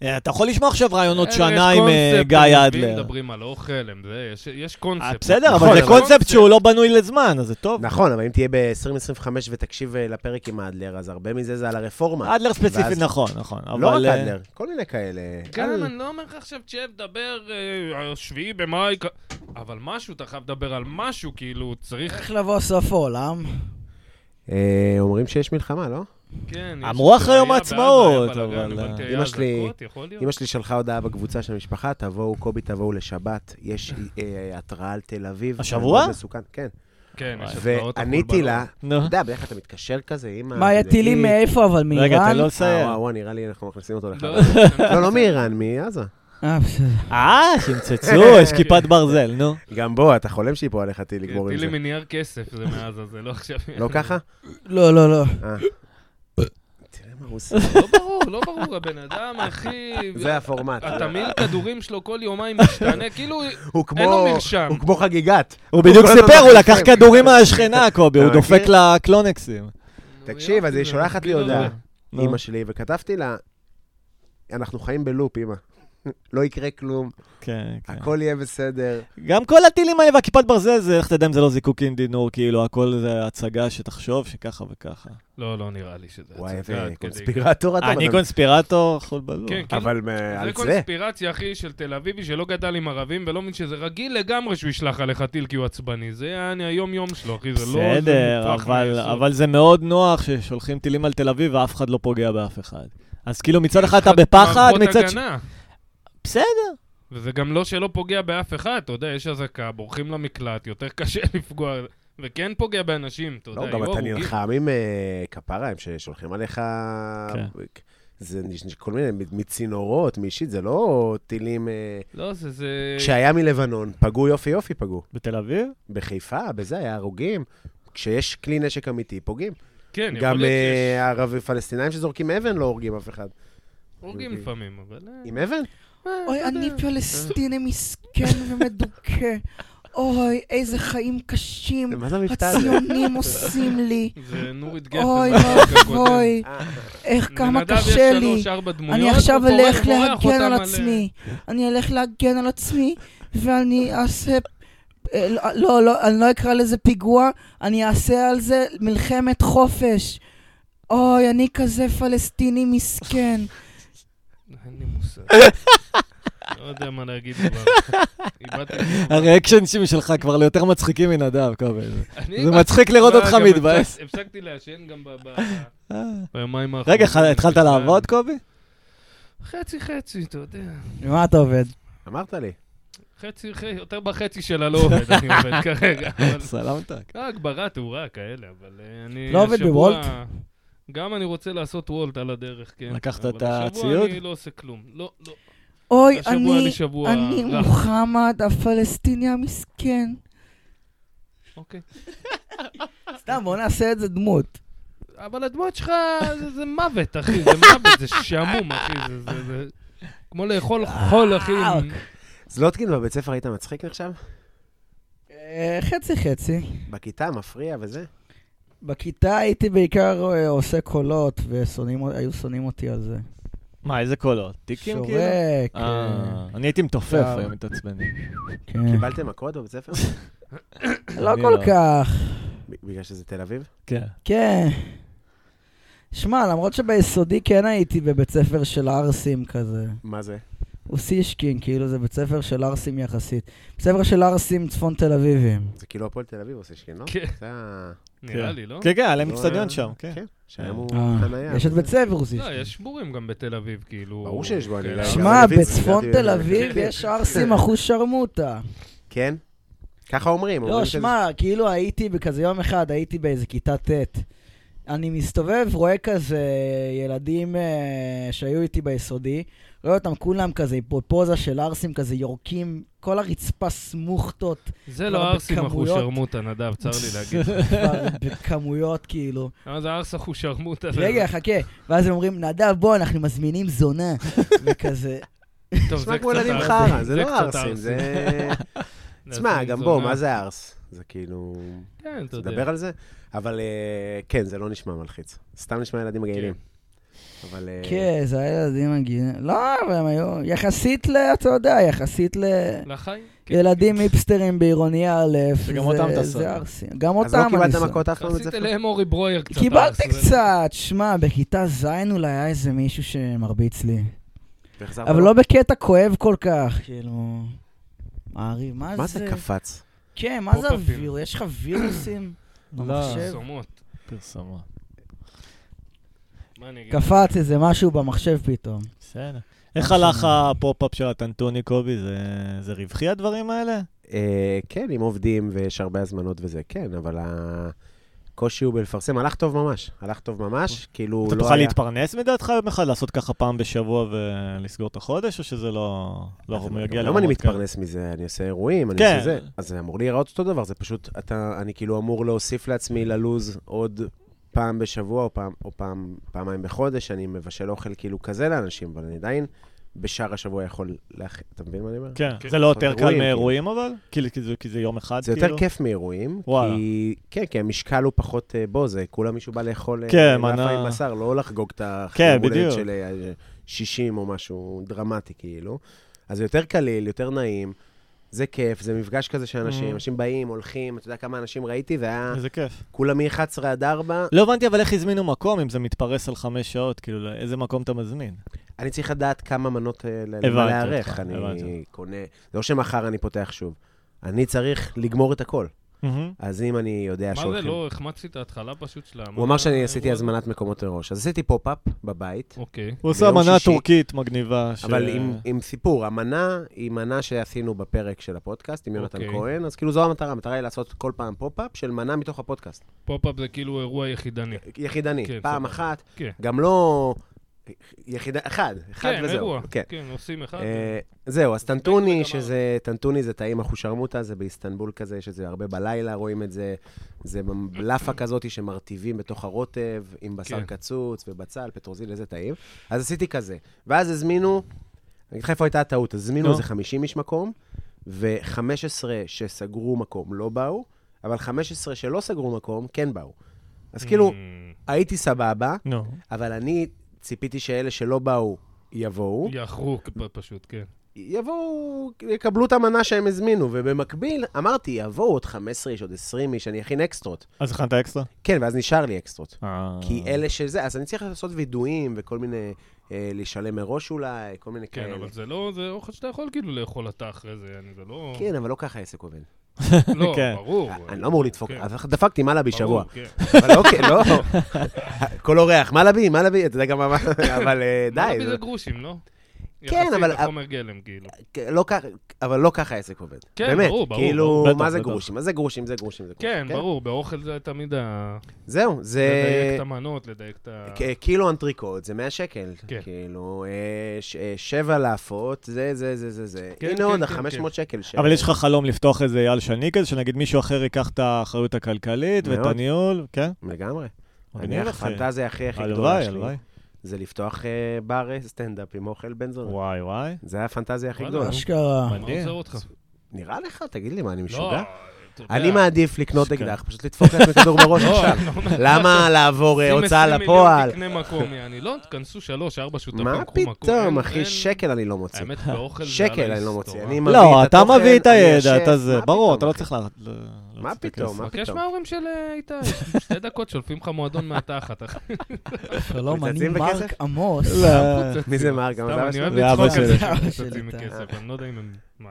אה, אתה יכול לשמוע עכשיו רעיונות
אה,
שנה
יש
עם אה,
קונספט,
גיא
הם יושבים,
אדלר.
מדברים על אוכל, הם זה, יש- יש
אה,
קונספט.
בסדר,
נכון,
אבל זה
אבל-
קונספט שהוא לא בנוי לזמן, אז זה טוב.
נכון, אבל אם תהיה ב-2025 ותקשיב אה, לפרק עם אדלר, אז הרבה מזה זה על הרפורמה.
אדלר ספציפית,
ואז-
נכון, נכון.
לא רק
אבל, אה, כן,
אדלר, כל מיני כאלה.
גם,
אל-
אני לא אומר לך עכשיו, תשב, דבר אה, שביעי במאי, כ- אבל משהו, אתה חייב לדבר על משהו, כאילו,
כן,
צריך...
איך לבוא סוף העולם?
אה, אומרים שיש מלחמה, לא?
כן. יש
אמרו אחרי יום
בעיה,
העצמאות,
בעיה, בלאגן,
אבל,
הבנתי,
אה,
היה
אמא שלי-
אזעקות, יכול להיות?
אמא שלי שלחה הודעה בקבוצה של המשפחה, תבואו, קובי, תבואו לשבת, יש אה, התראה על תל אביב.
השבוע?
מאוד מסוכן, כן.
כן, יש הפרעות
ועניתי לה,
נו.
אתה יודע, בדרך כלל אתה מתקשר כזה, אמא...
מה, יהיה
תדעי-
טילים מאיפה, אבל
רגע, לא-
מאיראן?
תן לו
אה,
לסיים.
לא,
וואו, וואו, נראה לי אנחנו מכניסים אותו
מבולבלות.
לחלל. לא, לא מאיראן, מעזה.
אה, בסדר.
אה, שימצצו, יש כיפת ברזל, נו.
גם בוא, אתה חולם שיפול עליך טיל לגמור עם
תהיי
זה.
כן, לי מנייר כסף, זה מעזה, זה לא עכשיו...
לא ככה?
לא, לא, לא.
אה. תראה מה הוא עושה.
לא ברור, לא ברור, הבן אדם, אחי...
זה הפורמט.
התמהיל כדורים שלו כל יומיים משתנה, כאילו...
הוא כמו-
אין לו מרשם.
הוא כמו חגיגת.
הוא בדיוק
כל הזמן
סיפר, הוא
מחליפים.
לקח כדורים מהשכנה, קובי,
אתה
הוא דופק
מכיר?
לה קלונקסים.
תקשיב, אז היא שולחת לי
כאילו,
הודעה,
נו.
אימא שלי, וכתבתי לה, אנחנו חיים בלופ, אימא. לא יקרה כלום,
כן, כן.
הכל יהיה בסדר.
גם כל הטילים האלה והכיפת ברזל, זה, איך תדע אם זה לא זיקוקים דינור, כאילו, הכל זה הצגה שתחשוב שככה וככה.
לא, לא נראה לי שזה...
וואי,
הצגה
איזה
עד כדי
קונספירטור אתה.
אני
אבל-
קונספירטור, חול בלוח.
כן, כאילו,
אבל אה,
זה
על זה.
קונספירציה, אחי, של תל אביבי שלא גדל עם ערבים ולא מבין שזה רגיל לגמרי שהוא ישלח עליך טיל כי הוא עצבני. זה היה אני- היום-יום שלו, אחי, זה לא... זה
בסדר,
מופרך
אבל-
מהיסוד.
אבל זה מאוד נוח ששולחים טילים על תל אביב ואף אחד לא פוגע באף אחד. אז כאילו מצד אחד אתה
אחד
בפחד,
מערכות
מצד ש...
הגנה.
בסדר.
וזה גם לא שלא פוגע באף אחד, אתה יודע, יש אזעקה, בורחים למקלט, יותר קשה לפגוע, וכן פוגע באנשים, אתה יודע,
לא, גם
יהיו
אתה
הרוגים.
נלחם עם אה, כפרה, הם ששולחים עליך...
כן.
זה נש- כל מיני, מ- מצינורות, מאישית, זה לא טילים... אה,
לא, זה... זה...
כשהיה מלבנון, פגעו יופי יופי, פגעו.
בתל אביב?
בחיפה, בזה, היה הרוגים. כשיש כלי נשק אמיתי, פוגעים.
כן, יכול
גם
להיות שיש
אה, ערבים פלסטינאים שזורקים אבן לא הורגים אף אחד.
הרוגים לפעמים, אבל... אה,
עם אבן?
אה,
אוי,
אתה
אני
יודע.
פלסטיני מסכן ומדוכא. כן. אוי, איזה חיים קשים
מה זה המבטא הזה?
הציונים עושים לי.
זה נורית גפן.
אוי,
בפרק הקודם.
אוי, איך כמה
לנדב יש
קשה לי.
שלוש, ארבע דמויות,
אני עכשיו
הוא פורח,
אלך
פורח
להגן
אותם אה,
על עצמי. אני אלך להגן על עצמי, ואני אעשה... אה, לא, לא, לא, אני לא אקרא לזה פיגוע, אני אעשה על זה מלחמת חופש. אוי, אני כזה פלסטיני מסכן.
אין לי מושג. לא יודע מה להגיד כבר. איבדתי את זה.
הריאקשנים שלך כבר ליותר מצחיקים מנדב, קובי.
אני
זה
איבדתי-
מצחיק לראות
לא,
אותך
גם
מתבאס.
הפסק- הפסקתי לעשן גם ב- ב-
אה.
ביומיים האחרונים.
רגע, ח- התחלת לעבוד, קובי?
חצי חצי, אתה יודע.
במה אתה עובד?
אמרת לי.
חצי, חצי- יותר בחצי של הלא עובד, אני עובד כרגע. אבל-
סלמתק.
אה, הגברה, תאורה, כאלה, אבל אה, אני...
לא עובד
השבוע-
בוולט?
גם אני רוצה לעשות וולט על הדרך, כן.
לקחת
אבל
את
השבוע
הציוד?
אני לא עושה כלום. לא, לא.
אוי,
השבוע לא. היה לי
אני,
שבוע
אני
רע.
מוחמד הפלסטיני המסכן.
אוקיי.
סתם, בוא נעשה את זה דמות.
אבל הדמות שלך זה, זה מוות, אחי, זה מוות, זה שעמום, אחי, זה, זה, זה... כמו לאכול חול, אחי. עם-
זלוטקין בבית ספר היית מצחיק נחשב?
אה, חצי חצי.
בכיתה, מפריע וזה?
כן. בכיתה הייתי בעיקר אה, עושה קולות, והיו שונאים אותי על זה.
מה, איזה קולות? טיקים כאילו?
שורק. אה,
אה, אני הייתי מתופף
אה.
היום מתעצבני.
כן.
קיבלתם מכות בבית ספר?
לא
אני
כל
לא.
כך.
ב- בגלל שזה תל אביב?
כן.
כן. שמע, למרות שביסודי כן הייתי בבית ספר של ערסים כזה.
מה זה?
אוסישקין, כאילו זה בית ספר של ערסים יחסית. בית ספר של ערסים צפון תל אביבים.
זה כאילו הפועל תל אביב עושה שכן, לא?
כן.
זה ה...
נראה לי, לא?
כן, כן, היה להם
לא
אצטדיון
היה-
שם, כן.
כן, שהיום הוא
אה,
חנייה.
יש את בית ספר
לא,
אוסישקין.
יש שבורים גם בתל אביב, כאילו...
ברור שיש בו, אני לא
כן,
יודע.
אבל-
שמע,
אבל
בצפון
זה-
תל אביב יש ערסים אחוז שרמוטה.
כן? ככה אומרים.
לא,
אומרים שזה-
שמע, כאילו הייתי בכזה יום אחד, הייתי באיזה כיתה ט'. אני מסתובב, רואה כזה ילדים אה, שהיו איתי ביסודי, רואה אותם כולם כזה עם פרופוזה של ערסים כזה יורקים, כל הרצפה סמוכתות,
זה לא
כבר
ארסים
בכמויות.
אחושרמוטה, נדב, צר לי להגיד.
כבר בכמויות כאילו.
למה זה ארס אחושרמוטה?
רגע, חכה. ואז הם אומרים, נדב, בוא, אנחנו מזמינים זונה. וכזה,
טוב,
נשמע
זה
כמו
קצת
ילדים
ערסים,
חרא, זה לא
קצת
ערסים, זה...
זה
תשמע,
ערסים
גם
זונה.
בוא, מה זה ערס? זה כאילו...
כן, אתה יודע.
נדבר על זה? אבל אה, כן, זה לא נשמע מלחיץ. סתם נשמע ילדים מגעילים. אבל... אה,
כן, זה היה ילדים מגיעים. לא, אבל הם היו, יחסית ל... אתה יודע, יחסית ל...
לחיים? כן.
ילדים היפסטרים בעירוני א',
שגם
זה-
אותם אתה שונא.
זה ערסים. גם אותם
אז לא
אני
קיבלת
שונא.
מכות אף פעם בבית
עשית
ספר?
להם אורי ברויר קצת. אה,
קיבלתי
ארס, זה-
קצת, שמע, בכיתה ז' אולי היה איזה מישהו שמרביץ לי.
והחזרת
אבל
לו?
לא בקטע כואב כל כך, כאילו... מעריב, מה זה?
מה זה קפץ?
כן, מה זה
פופ-אפים.
הווירוס? יש לך וירוסים? במחשב?
פרסומות.
פרסומה.
מה אני אגיד?
קפץ איזה משהו במחשב פתאום.
בסדר. איך הלך הפופ-אפ של הטנטוני, קובי? זה- זה רווחי הדברים האלה?
אה, כן, אם עובדים ויש הרבה הזמנות וזה, כן, אבל ה... הקושי הוא בלפרסם. הלך טוב ממש, הלך טוב ממש, כאילו
אתה
לא
תוכל
היה...
להתפרנס מדעתך יום אחד, לעשות ככה פעם בשבוע ולסגור את החודש, או שזה לא... לא
אז
מגיע
היום אני
לרמות כאלה?
מתפרנס מזה, אני עושה אירועים, אני
כן.
עושה זה. אז זה אמור להיראות אותו דבר, זה פשוט, אתה, אני כאילו אמור להוסיף לעצמי ללוז עוד פעם בשבוע או, פעם, או פעם, פעמיים בחודש, אני מבשל אוכל כאילו כזה לאנשים, אבל אני עדיין בשאר השבוע יכול להכין, אתה מבין מה אני אומר?
כן,
כן.
זה לא יותר קל
אירועים,
מאירועים אבל? כאילו, כי- כי זה- כי זה יום אחד,
כאילו. זה
כאילו?
יותר כיף מאירועים,
וואלה.
כי... כן, כי המשקל הוא פחות אה, בו, זה כולה מישהו בא לאכול אה,
כן,
לאפה
מנה-
עם בשר, לא לחגוג את
כן,
החיים הולדת
בדיוק.
של אה, 60 או משהו דרמטי, כאילו. אז זה יותר קליל, יותר נעים, זה כיף, זה מפגש כזה של
Mm.
אנשים, אנשים באים, הולכים, אתה יודע כמה אנשים ראיתי, והיה
איזה כיף.
כולה מ-11 עד 4,
לא הבנתי אבל איך הזמינו מקום, אם זה מתפרס על חמש שעות, כאילו, לאיזה מקום אתה מזמין?
אני צריך לדעת כמה מנות אה, ל-
הבנתי
למה להיערך.
אותך, הבנתי
אני קונה, זה לא שמחר אני פותח שוב. אני צריך לגמור את הכל.
מהמם.
אז אם אני יודע
מה זה,
שהולכים...
לא החמצתי את ההתחלה פשוט של ה... אה,
הוא אמר שאני עשיתי הזמנת מקומות מראש. אז עשיתי פופ-אפ בבית,
אוקיי.
הוא עושה
ביום
אמנה
שישי.
טורקית מגניבה. ש-
אבל עם- עם סיפור. המנה היא מנה שעשינו בפרק של הפודקאסט עם יונתן
אוקיי.
כהן, אז כאילו זו המטרה, המטרה היא לעשות כל פעם פופ-אפ של מנה מתוך הפודקאסט.
פופ-אפ זה כאילו אירוע יחידני.
יחידני,
כן,
פעם
סבבה.
אחת,
כן.
גם לא... יחידה, אחד, אחד
כן,
וזהו.
אירוע.
כן.
כן, עושים אחד.
אה, זהו, אז טנטוני,
וגמרנו.
שזה, טנטוני זה טעים אחושרמוטה, זה באיסטנבול כזה, יש את זה הרבה בלילה, רואים את זה. זה לאפה כזאת שמרטיבים בתוך הרוטב, עם בשר
כן.
קצוץ ובצל, פטרוזיל, איזה טעים. אז עשיתי כזה. ואז הזמינו, אני אגיד לך איפה הייתה הטעות, אז הזמינו
נו.
איזה 50 איש מקום, ו-15 שסגרו מקום לא באו, אבל 15 שלא סגרו מקום כן באו. אז כאילו,
Mm.
הייתי סבבה,
נו.
אבל אני ציפיתי שאלה שלא באו יבואו.
יחרו פ- פשוט, כן.
יבואו, יקבלו את המנה שהם הזמינו, ובמקביל, אמרתי, יבואו עוד 15 איש, עוד 20 איש, אני אכין אקסטרות.
אז הכנת אקסטרה?
כן, ואז נשאר לי אקסטרות.
אה.
כי אלה שזה, אז אני צריך לעשות וידויים וכל מיני, אה, לשלם מראש אולי, כל מיני
כן,
כאלה.
אבל זה לא, זה אוכל שאתה יכול כאילו לאכול אתה אחרי זה, יעני, זה לא...
כן, אבל לא ככה העסק עובד.
לא,
כן.
ברור.
אני לא אמור לדפוק,
כן.
אז דפקתי מלאבי
ברור,
שבוע.
כן.
אבל אוקיי, לא. כל אורח, מלאבי, מלאבי, אתה יודע גם מה, אבל אה, די.
מלאבי
זה-
זה גרושים, לא?
כן, אבל-
יחסית לחומר גלם, כאילו.
לא ככה- אבל לא ככה העסק עובד.
כן,
באמת,
ברור, ברור,
כאילו,
ברור. בטח,
מה זה
בטח.
גרושים? מה זה גרושים? זה גרושים, זה גרושים.
כן, ברור, באוכל זה תמיד ה...
זהו, זה... כן.
לדייק את המנות, לדייק את ה...
כ- קילו אנטריקוט זה 100 שקל.
אה. כן.
כאילו, אה, ש- אה, שבע לאפות, זה, זה, זה, זה, זה.
כן,
הנה
כן,
עוד
כן,
ה-500 שקל. ש-
אבל יש לך חלום לפתוח איזה אייל שני כזה, שנגיד מישהו אחר ייקח את האחריות הכלכלית ואת
מאוד.
הניהול, כן?
לגמרי. אני
מגניב, אחי.
הפנטזיה הכי הכי גדולה
הלוואי,
שלי.
הלוואי.
זה לפתוח אה, בר אה, סטנדאפ עם אוכל בן זונה.
וואי, וואי.
זה הפנטזיה הכי
וואלה.
גדולה.
אשכרה.
מה
מדהים.
עוזר אותך?
נראה לך? תגיד לי, מה, אני
לא,
משוגע?
אתה יודע.
אני מעדיף לקנות
משוגע.
אקדח, פשוט לדפוק לעצמי כדור בראש
לא,
עכשיו.
לא,
למה לעבור אה,
שים
הוצאה
20 מיליון,
לפועל?
תקנה מקום, יעני. לא, תכנסו שלוש, ארבע שותפים,
מה
קחו מקום.
פתאום,
אין-
אחי,
אין-
שקל אני לא מוציא.
האמת, באוכל זה על
שקל אני לא
ההיסטוריה.
מוציא. אני מביא את
לא, אתה
התוכן,
מביא את
אני
הידע,
השף.
אתה זה,
מה
ברור,
פתאום,
אתה לא
אחי?
צריך ל... ל-
מה
להוציא את
פתאום,
הכסף.
מה
תבקש
פתאום?
מההורים של אה, איתי, שתי דקות שולפים לך מועדון מהתחת, אחי.
שלום, אני
מצלצלים
מרק
בכסף?
עמוס.
לא.
מי זה מרק? גם
סתם,
זה
אני
אבא
אוהב
זה אבא
לצחוק על
שלי.
זה שהם
אבא
מוצצים
שלי,
מכסף, אני לא יודע אם הם... מה,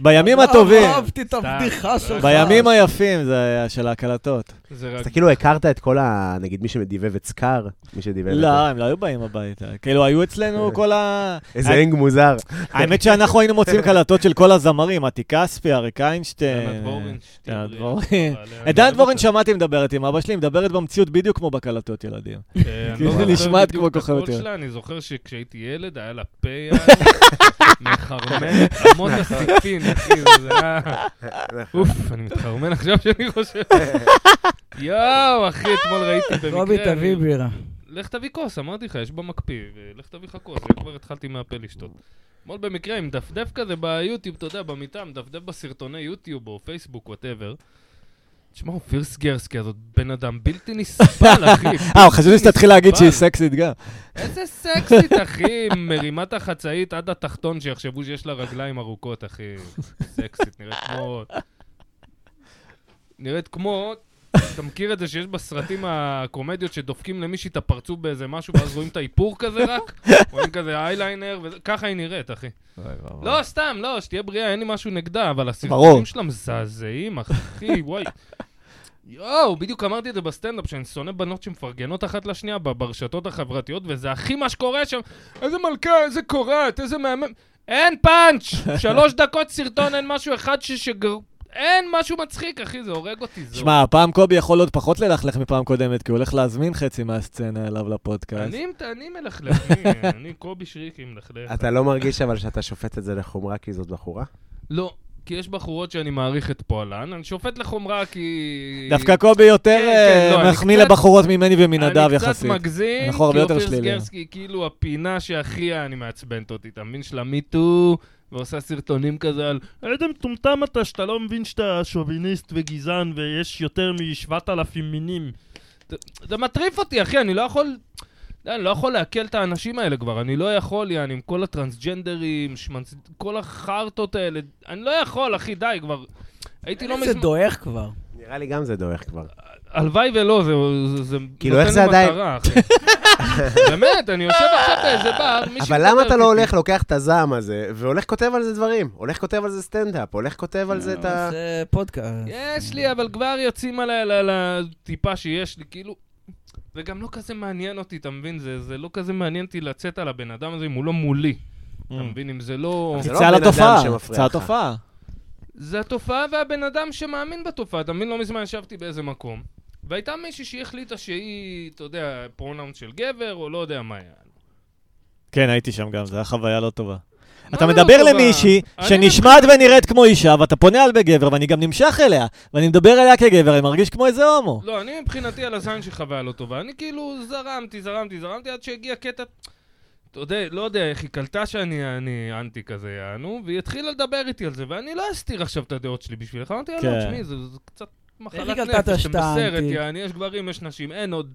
בימים
לא,
הטובים,
לא אהבתי את הבדיחה
סתם.
שלך.
בימים היפים זה היה של ההקלטות.
זה
אז
רק...
אתה כאילו הכרת את כל ה... נגיד מי שדיבב את סקאר, מי שדיבב את...
לא, הם לא היו באים הביתה. כאילו, היו אצלנו כל ה...
איזה אנג מוזר.
האמת שאנחנו היינו מוצאים קלטות של כל הזמרים, מתי כספי, אריק איינשטיין.
ענת
אה,
בורן, שתהיה
ענת
בריאה.
בורן.
אבל, אה,
את דן
אני
דבורן
אוהב
שמעתי מדברת עם אבא שלי, היא מדברת במציאות בדיוק כמו בקלטות ילדים.
אותה. אה, אני לא
כאילו,
זוכר
נשמעת
בדיוק
כמו
את הקול
כוכבת ילד.
שלה, אני זוכר שכשהייתי ילד, היה לה פה, יעני, מחרמן, המון הסיפין, כאילו, זה היה... אוף, אני מתחרמן עכשיו שאני חושב. יואו, אחי, אתמול ראיתי במקרה...
קובי,
אני-
תביא בירה.
לך תביא כוס, אמרתי לך, יש במקפיא, לך תביא לך כוס, אני כבר התחלתי מהפה לשתות. אתמול במקרה, עם דפדף כזה ביוטיוב, אתה יודע, במיטה, מדפדף בסרטוני יוטיוב או פייסבוק, וואטאבר. תשמע, אופיר סגרסקי הזאת, בן אדם בלתי נסבל, אחי.
אה,
בלתי
חשבתי שתתחיל להגיד
נסבל.
שהיא סקסית גם.
איזה סקסית, אחי, מרימה את החצאית עד התחתון, שיחשבו שיש לה רגליים ארוכות, אחי. סקסית, נראית כמו... נראית כמו... אתה מכיר את זה שיש בסרטים הקומדיות שדופקים למישהי את הפרצוף באיזה משהו ואז רואים את האיפור כזה רק? רואים כזה אייליינר, וככה היא נראית, אחי. לא, סתם, לא, שתהיה בריאה, אין לי משהו נגדה, אבל
ברור.
הסרטונים שלה מזעזעים, אחי, וואי. יואו, בדיוק אמרתי את זה בסטנדאפ, שאני שונא בנות שמפרגנות אחת לשנייה ב- ברשתות החברתיות, וזה הכי מה שקורה שם. איזה מלכה, איזה קורעת, איזה מהמם. אין פאנץ'! שלוש דקות סרטון, אין משהו אחד ש... שגר... אין משהו מצחיק, אחי, זה הורג אותי. זה
שמע, הפעם קובי יכול עוד פחות ללכלך מפעם קודמת, כי הוא הולך להזמין חצי מהסצנה אליו לפודקאסט.
אני, אני מלכלך, אני, אני קובי שריקי מלכלך.
אתה לא מרגיש אבל שאתה שופט את זה לחומרה כי זאת בחורה?
לא, כי יש בחורות שאני מעריך את פועלן, אני שופט לחומרה כי...
דווקא קובי יותר
כן, כן,
אה,
לא, אני
מחמיא
קצת-
לבחורות ממני ומנדב
אני קצת
יחסית.
מגזים,
אנחנו הרבה
כי
יותר
אופיר
שליליים.
סגרסקי היא כאילו הפינה שהכי אני מעצבנת אותי, אתה מבין? של המיטו, ועושה סרטונים כזה על
איזה מטומטם אתה שאתה לא מבין שאתה שוביניסט וגזען ויש יותר מ-7,000 מינים.
זה מטריף אותי, אחי, אני לא יכול... אני לא יכול לעכל את האנשים האלה כבר, אני לא יכול, יעני, עם כל הטרנסג'נדרים, שמנס... כל החרטות האלה, אני לא יכול, אחי, די, כבר... הייתי לא
זה
מזמן...
דועך כבר.
נראה לי גם זה דועך כבר.
הלוואי ולא, זה, זה, זה
כאילו, איך
נותן
זה
לי
עדיין-
מטרה, אחי. באמת, אני יושב עכשיו באיזה בר, מישהו...
אבל למה
מדבר
אתה לא
איתי.
הולך, לוקח את הזעם הזה, והולך כותב על זה דברים? הולך כותב על זה סטנדאפ, הולך כותב על זה את ה...
לא, זה פודקאסט.
יש לי, אבל כבר יוצאים עליי על- על הטיפה שיש לי, כאילו... זה גם לא כזה מעניין אותי, אתה מבין? זה, זה לא כזה מעניין אותי לצאת על הבן אדם הזה אם הוא לא מולי. אתה מבין? אם זה לא...
זה לא
תצא על
הבן אדם
התופעה,
שמפריע
תצא על
לך.
התופעה.
זה התופעה והבן אדם שמאמין בתופעה. אתה מבין? לא מזמן ישבתי באיזה מקום, והייתה מישהי שהיא החליטה שהיא, אתה יודע, פרונאונס של גבר, או לא יודע מה היה.
כן, הייתי שם גם, זו הייתה חוויה לא טובה.
מה
אתה
זה לא
מדבר
טובה?
למישהי
אני לא
שנשמעת ונראית כמו אישה, ואתה פונה על בגבר, ואני גם נמשך אליה, ואני מדבר אליה כגבר, אני מרגיש כמו איזה הומו.
לא, אני מבחינתי על הזין שלך חוויה לא טובה. אני כאילו זרמתי, זרמתי, זרמתי עד שהגיע קטע... אתה יודע, לא יודע איך היא קלטה שאני אני אנטי כזה, יענו, והיא התחילה לדבר איתי על זה, ואני לא אסתיר עכשיו את הדעות שלי בשבילך. אמרתי, "אה, לא,
כן.
תשמעי, זה זה קצת
איך
מחלת
היא
נפש,
קלטה
אתם
שאתה
בסרט,
אנטי?
יעני, יש גברים, יש נשים, אין עוד.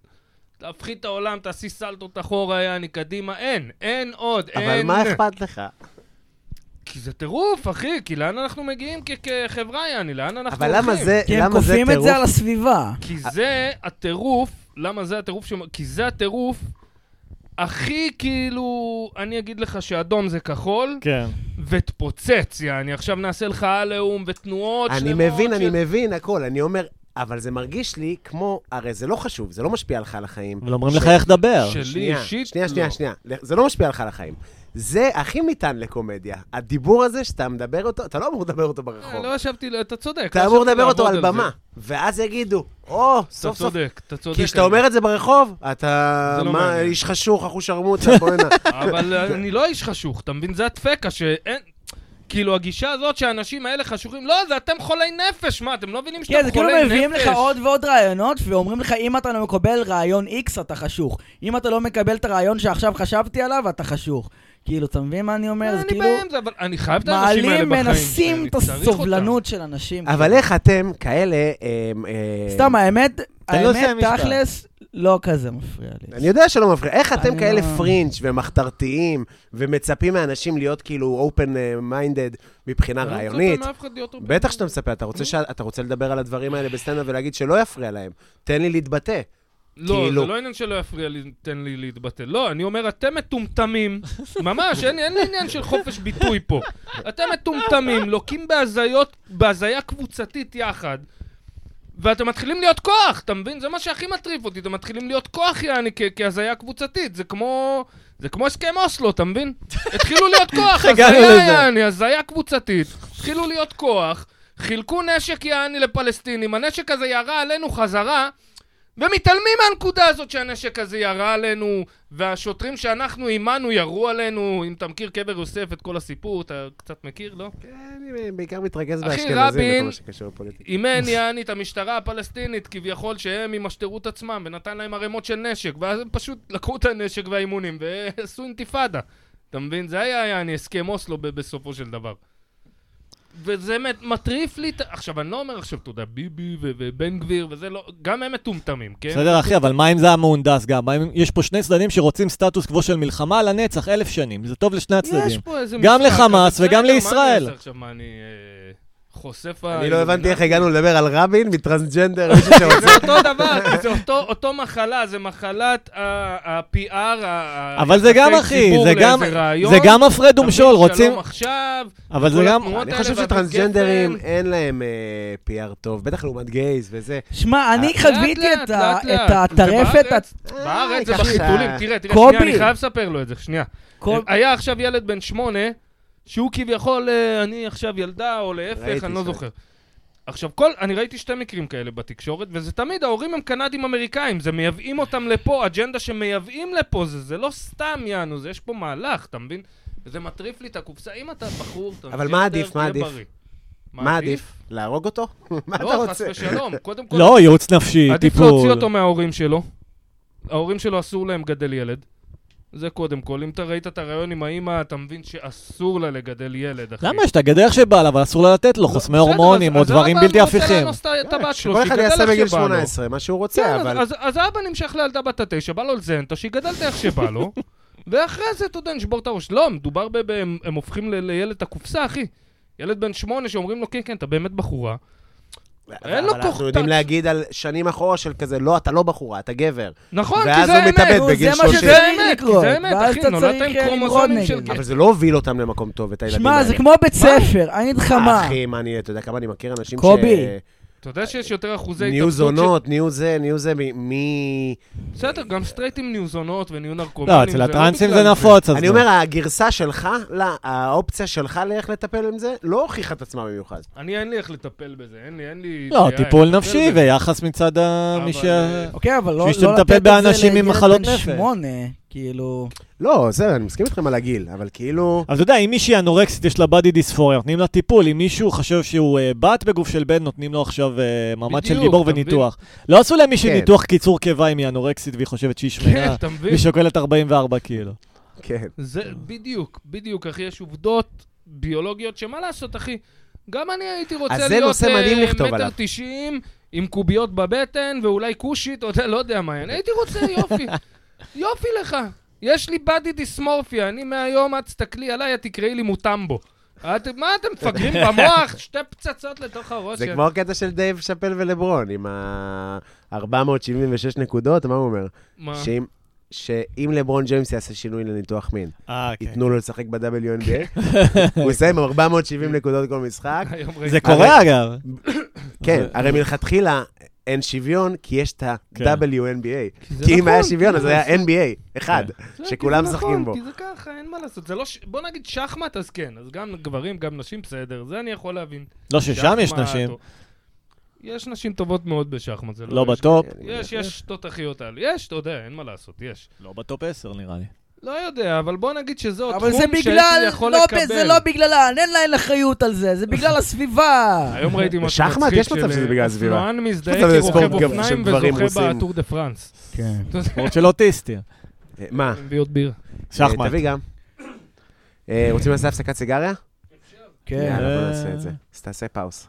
תהפכי את העולם, תעשי סלטות אחורה, יעני, קדימה, אין, אין עוד, אין.
אבל מה אכפת לך?
כי זה טירוף, אחי, כי לאן אנחנו מגיעים כ- כחברה, יעני, לאן אנחנו
אבל
הולכים?
למה זה
כי הם
למה זה
כופים את
טירוף?
זה על הסביבה.
כי זה הטירוף, למה זה הטירוף? שמ- כי זה הטירוף הכי כאילו, אני אגיד לך שאדום זה כחול,
כן.
ותפוצץ, יעני, עכשיו נעשה לך עליהום ותנועות
אני
שלמות.
מבין,
של-
אני מבין הכל. אני אומר, אבל זה מרגיש לי כמו, הרי זה לא חשוב, זה לא משפיע עליך על החיים.
אבל אומרים
ש-
לך איך לדבר.
שלי
שנייה,
אישית,
שנייה,
לא.
שנייה, שנייה. זה לא משפיע לך על החיים. זה הכי ניתן לקומדיה. הדיבור הזה שאתה מדבר אותו, אתה לא אמור לדבר אותו
אה,
ברחוב.
לא ישבתי, ל- אתה צודק.
אתה
לא
אמור
ישבתי
לדבר אותו
לעבוד
על
זה.
במה. ואז יגידו, או,
אתה
סוף סוף.
צודק, אתה צודק.
כי כשאתה
אני-
אומר את זה ברחוב, אתה...
זה לא
מה,
מעניין.
איש חשוך, אחושרמוטה, בוא'נה.
אבל אני לא איש חשוך, אתה מבין? זה הדפקה שאין... כאילו, הגישה הזאת שהאנשים האלה חשוכים, לא, זה אתם חולי נפש, מה, אתם לא מבינים
כן,
שאתם חולי
זה
נפש?
כאילו מביאים לך עוד ועוד רעיונות, ואומרים לך, אם אתה לא מקבל רעיון X, אתה חשוך. אם אתה לא מקבל את הרעיון שעכשיו חשבתי עליו, אתה חשוך. כאילו, אתה מבין מה אני אומר? זה
אני
כאילו...
באמצע, אבל אני חייב את האנשים האלה
מעלים,
בחיים.
מנסים
אני
את
צריך אותם.
הסובלנות של אנשים. כן.
אבל איך אתם כאלה... אמ, אמ,
סתם, אה, האמת,
תן לו
האמת,
לסיים משפט.
תכלס, לא כזה מפריע לי.
לא אני יודע שלא מפריע. איך אתם
אני
כאלה
לא-
פרינג' ומחתרתיים, ומצפים מאנשים להיות כאילו open minded מבחינה
אני לא מצפה
רעיונית?
מאף אחד להיות הרבה-
בטח שאתה מספר, אתה רוצה, ש... אתה רוצה לדבר על הדברים האלה בסטנדאפ ולהגיד שלא יפריע להם. תן לי להתבטא.
לא, זה
כאילו-
לא עניין שלא יפריע לי, תן לי להתבטא. לא, אני אומר, אתם מטומטמים. ממש, אין לי- אין לי עניין של חופש ביטוי פה. אתם מטומטמים, לוקים בהזיות, בהזיה קבוצתית יחד. ואתם מתחילים להיות כוח, אתה מבין? זה מה שהכי מטריף אותי, אתם מתחילים להיות כוח, יעני, כ- כהזיה קבוצתית. זה כמו... זה כמו הסכם אוסלו, אתה מבין? התחילו להיות כוח,
הגענו
הזיה,
לזה.
יעני, הזיה קבוצתית. התחילו להיות כוח, חילקו נשק, יעני, לפלסטינים, הנשק הזה ירה עלינו חזרה, ומתעלמים מהנקודה הזאת שהנשק הזה ירה עלינו, והשוטרים שאנחנו אימנו ירו עלינו, אם אתה מכיר קבר יוסף, את כל הסיפור, אתה קצת מכיר, לא?
כן, אני בעיקר מתרכז
אחי,
באשכנזים
רבין-
וכל מה שקשור לפוליטיקה.
אימן יעני את המשטרה הפלסטינית, כביכול שהם ימשטרו את עצמם, ונתן להם ערימות של נשק, ואז הם פשוט לקחו את הנשק והאימונים, ועשו אינתיפאדה. אתה מבין? זה היה יעני הסכם אוסלו ב- בסופו של דבר. וזה מת- מטריף לי את... ה- עכשיו, אני לא אומר עכשיו, אתה יודע, ביבי ו- ובן גביר וזה לא... גם הם מטומטמים, כן?
בסדר, אחי, אבל מה אם זה המהונדס גם? מה אם יש פה שני צדדים שרוצים סטטוס קוו של מלחמה לנצח, אלף שנים. זה טוב לשני
יש
הצדדים.
פה איזה
גם
משחק,
לחמאס וגם
אבל בסדר, מה אני
לישראל.
אעשה עכשיו, מה, אני אה, חושף...
אני לא
האילומינטי?
הבנתי איך הגענו לדבר על רבין מטרנסג'נדר, מישהו שרוצה...
זה אותו דבר, כי זה אותו, אותו מחלה, זה מחלת ה- ה-PR, ה-
אבל זה
יחסי
גם, אחי,
ציבור
זה
לאיזה
גם,
רעיון.
זה גם הפרד
תביא
ומשול, רוצים...
שלום עכשיו,
אבל זה
כל
גם...
התנועות
אני
האלה
חושב
והגפן.
שטרנסג'נדרים אין להם אה, PR טוב, בטח לעומת גייז וזה.
שמע, אני
לאט,
חוויתי
לאט,
את ה-
לאט, לאט.
את הטרפת,
זה בארץ,
אה,
בארץ זה
ככה.
בחיתולים, תראה, תראה,
קובי.
שנייה, אני חייב לספר לו את זה, שנייה.
הכל-
אה, היה עכשיו ילד בן שמונה, שהוא כביכול, אה, אני אה, עכשיו ילדה, או להפך,
ראיתי
אני לא
ש-
זוכר. עכשיו, כל, אני ראיתי שתי מקרים כאלה בתקשורת, וזה תמיד, ההורים הם קנדים-אמריקאים, זה מייבאים אותם לפה, אג'נדה שמייבאים לפה, זה, זה לא סתם יענו, זה יש פה מהלך, אתה מבין? זה מטריף לי את הקופסה, אם אתה בחור, אתה
אבל
מבין
מה
יותר,
עדיף? מה
תהיה
עדיף?
בריא.
מה עדיף? להרוג אותו? מה אתה
לא, חס
רוצה?
ושלום, קודם כל,
לא, ייעוץ נפשי, טיפול.
עדיף להוציא אותו מההורים שלו. ההורים שלו אסור להם לגדל ילד. זה קודם כל, אם אתה ראית את הרעיון עם האימא, אתה מבין שאסור לה לגדל ילד, אחי.
למה? יש את הגדר שבא לה, אבל אסור לה לתת לו חוסמי
לא, בסדר,
הורמונים
אז-
או
אז
דברים
אבא
בלתי
רוצה
הפיכים.
לאנוס את הבת שלו,
אה, שכל אחד
שיגדל
יעשה
איך
בגיל
שבא לו.
18 מה שהוא רוצה,
כן,
אבל...
אז- אז- אז האבא נמשך לילדה בת התשע, בא לו לזיין אותה, שיגדל את איך שבא לו, ואחרי זה, אתה יודע, נשבור את הראש. לא, מדובר ב... ב- הם הם הופכים ל- לילד את הקופסה, אחי. ילד בן שמונה שאומרים לו, כן, כן, אתה באמת בחורה. אין לו
אבל אנחנו
כוח
יודעים
טאץ'.
להגיד על שנים אחורה של כזה, לא, אתה לא בחורה, אתה גבר.
נכון, כי
ואז
זה
הוא
האמת.
מתאבד
נו,
בגיל
זה מה
30.
שזה
זה
האמת, כי
לקרות,
זה האמת,
ואז
אחי,
אתה
נולדת
צריך,
עם
אה,
כרומוזומים
למרוד
של
נגד
גבר.
אבל זה לא הוביל אותם למקום טוב, את הילדים האלה.
שמע, זה כמו בית ספר, אני אגיד לך מה.
אחי, מה אני, אתה יודע כמה אני מכיר אנשים ש...
קובי.
אתה יודע שיש יותר אחוזי
נהיו
התאבדות...
זונות, נהיו זה, נהיו זה, מ- מי...
ש- בסדר, גם סטרייטים נהיו זונות ונהיו נרקומנים.
לא, אצל
לא
הטרנסים
בגלל
זה נפוץ, אז
אני
לא.
אומר, הגרסה שלך, לא, האופציה שלך לאיך לטפל עם זה, לא הוכיחה את עצמה במיוחד.
אני, אין לי איך לטפל בזה, אין לי, אין לי...
לא,
דעה
טיפול
איך לטפל
נפשי
בזה.
ויחס מצד ה-
אבל,
מי ש...
אה,
אוקיי, אבל לא
בשביל שאתה
לא
מטפל
לתת את
באנשים
זה
עם
לילד
מחלות
בן
נפש.
שמונה, כאילו...
לא, זה, אני מסכים איתכם על הגיל, אבל כאילו...
אבל אתה יודע, אם מישהי אנורקסית יש לה בדי דיספוריה, נותנים לה טיפול. אם מישהו חושב שהוא אה, בת בגוף של בן, נותנים לו עכשיו אה, מעמד של
בדיוק,
גיבור
אתה מבין?
וניתוח. לא עשו למישהי
כן.
ניתוח קיצור קיבה אם היא אנורקסית והיא חושבת שהיא
כן,
שמנה,
אתה מבין?
והיא שוקלת 44 קילו.
כן.
זה בדיוק, בדיוק, אחי, יש עובדות ביולוגיות שמה לעשות, אחי? גם אני הייתי רוצה
אז זה
להיות
נושא מדהים
אה,
לכתוב
מטר
עליו.
תשעים, עם קוביות בבטן, ואולי כושית, או אתה לא יודע מה, אני הייתי רוצה יופי. יופי לך. יש לי בדי דיסמורפיה, אני מהיום, את תסתכלי עליי, את תקראי לי מוטמבו. את, מה אתם מפגרים במוח? שתי פצצות לתוך הראש.
זה כמו הקטע של דייב שאפל ולברון, עם ה-476 נקודות, מה הוא אומר?
מה?
שאם- שאם לברון ג'יימס יעשה שינוי לניתוח מין,
אה, כן.
ייתנו לו לשחק ב-WNBA, הוא יסיים עם 470 נקודות כל משחק.
היום ראיתי.
זה קורה אגב.
כן, הרי מלכתחילה אין שוויון, כי יש את ה-WNBA.
זה
כי אם
נכון,
היה שוויון,
כי
אז
זה
היה NBA, אחד,
לא, כי
שכולם
זה
משחקים
נכון,
בו.
כי זה ככה, אין מה לעשות. זה לא ש... בוא נגיד שחמט, אז כן. אז גם גברים, גם נשים, בסדר. זה אני יכול להבין.
לא ששם יש
שחמט,
נשים,
או- יש נשים טובות מאוד בשחמט, זה לא...
לא
יש-
בטופ.
יש, יש תותחיות על. יש, אתה יודע, אין מה לעשות, יש.
לא בטופ 10 נראה לי.
לא יודע, אבל בוא נגיד שזה עוד
אבל זה
לא, תחום
בגלל,
שהייתי יכול
לא,
לקבל.
זה לא בגללן, אין להן אחריות על זה, זה בגלל הסביבה.
היום ראיתי משהו
בשחמט
מצחיק
יש מצב שזה בגלל הסביבה.
אופנוען
מצב
מזדהה כרוכב
בספורט גם
אופניים
שגברים
וזוכה
עושים.
בטור דה פרנס.
כן.
אתה יודע,
ספורט של אוטיסטים.
אה, מה?
מביאות בירה.
שחמט.
אה, תביא גם. אה, רוצים לעשות הפסקת סיגריה?
כן.
יאללה, בוא
אה.
נעשה את זה. אז תעשה פאוס.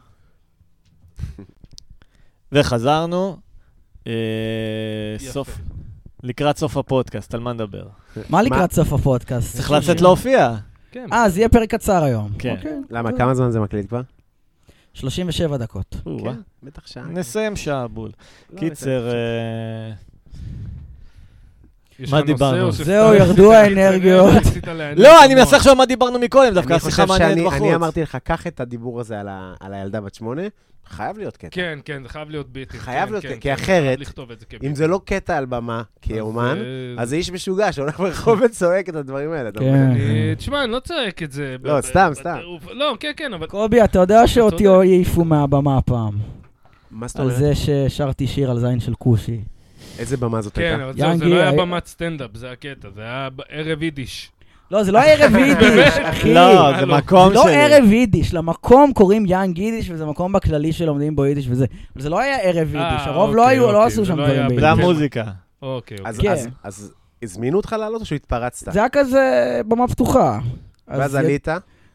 וחזרנו, אה,
יפה.
סוף, לקראת סוף הפודקאסט, על מה נדבר?
כן.
מה לקראת סוף הפודקאסט?
צריך לצאת להופיע.
כן.
אה, אז יהיה פרק קצר היום.
כן.
אוקיי.
למה,
טוב.
כמה זמן זה מקליט כבר?
37 דקות.
או-אה.
כן,
כן. בטח שעה.
נסיים שעה בול.
לא,
לא,
קיצר, אה,
יש
מה
לך נושא
דיברנו?
או שסתם
זהו,
רצית
ירדו
להגיד,
האנרגיות.
רצית להעניק
לא, אני
במוח?
מנסה עכשיו מה דיברנו מקודם, דווקא
אני חושב
השיחה מעניינת
שאני-
בחוץ.
אני אמרתי לך, קח את הדיבור הזה על ה- על הילדה בת שמונה, חייב להיות קטע.
כן, כן, זה חייב להיות ביטים.
חייב
כן,
להיות,
כן,
כי
כן,
אחרת,
חייב לכתוב את זה כביטים.
אם זה לא קטע על במה כאומן,
אה,
אז זה איש משוגע שהולך ברחוב וצועק את הדברים האלה. אתה
כן.
מבין?
אה, תשמע, אני לא צועק את זה.
לא,
ב-
סתם,
ב-
סתם.
בטירוף. לא, כן, כן, אבל...
קובי, אתה יודע שאותי
צודק.
העיפו מהבמה הפעם,
מה זאת
על
אומרת?
זה ששרתי שיר על זין של כושי.
איזה במה זאת
כן,
הייתה?
אבל זהו, זה
יענקי,
לא היה
היה-
במת סטנדאפ, זה הקטע, זה היה ב- ערב יידיש.
לא, זה לא ערב יידיש, אחי.
לא, זה
הלו.
מקום
זה לא
שלי.
ערב יידיש, למקום קוראים יאנג יידיש, וזה מקום בכללי שלומדים בו יידיש וזה. אבל זה לא היה ערב
אה,
יידיש, הרוב לא
אוקיי,
היו, לא
אוקיי,
עשו
זה
שם
לא
דברים
היה
זה
ביידיש.
בדיוק.
המוזיקה.
אוקיי, אוקיי.
אז-
כן.
אז- אז הזמינו אותך לעלות או שהתפרצת?
זה היה כזה במה פתוחה. אז
ואז
זה-
עלית?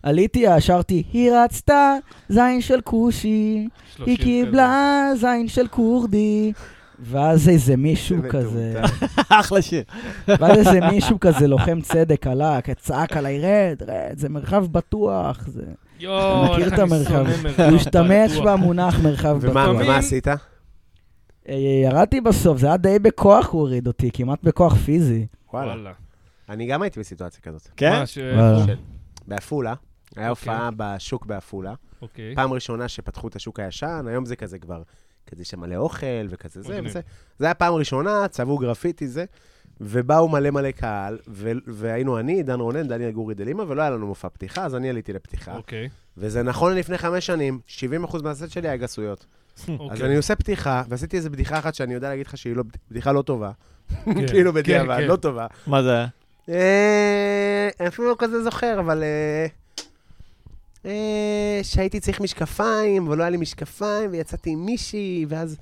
עליתי, שרתי, היא רצתה זין של כושי,
אוקיי, שלושים
היא
כזה.
קיבלה זין של כורדי. ואז איזה מישהו
זה
כזה,
מטומטם.
אחלה שיר.
ואז איזה מישהו כזה לוחם צדק עלה, צעק עליי, רד, רד, זה מרחב בטוח. זה-
יואו,
אתה מכיר
איך
את
אני
המרחב.
שונא מרחב
הוא השתמש
פתוח.
במונח מרחב
ומה
בטוח.
ומה עשית?
אה, ירדתי בסוף, זה היה די בכוח הוא הוריד אותי, כמעט בכוח פיזי.
וואלה. אני גם הייתי בסיטואציה כזאת.
כן?
מה, ש-
וואלה.
בעפולה, היה
אוקיי.
הופעה בשוק בעפולה.
אוקיי.
פעם ראשונה שפתחו את השוק הישן, היום זה כזה כבר, כזה שמלא אוכל וכזה זה
מגניב.
וזה. זה היה פעם ראשונה, צבעו גרפיטי זה. ובאו מלא מלא קהל, ו- והיינו אני, עידן רונן, דניאל גורי דלימה, ולא היה לנו מופע פתיחה, אז אני עליתי לפתיחה.
אוקיי,
וזה נכון לפני חמש שנים, 70% מהסט שלי היה גסויות. אז אני
אוקיי.
עושה פתיחה, ועשיתי איזו בדיחה אחת שאני יודע להגיד לך שהיא לא- בדיחה לא טובה.
כן,
כאילו
כן,
בדיעבד,
כן.
לא טובה.
מה זה היה?
אה, אני אפילו לא כזה זוכר, אבל... אה, אה, שהייתי צריך משקפיים, אבל לא היה לי משקפיים, ויצאתי עם מישהי, ואז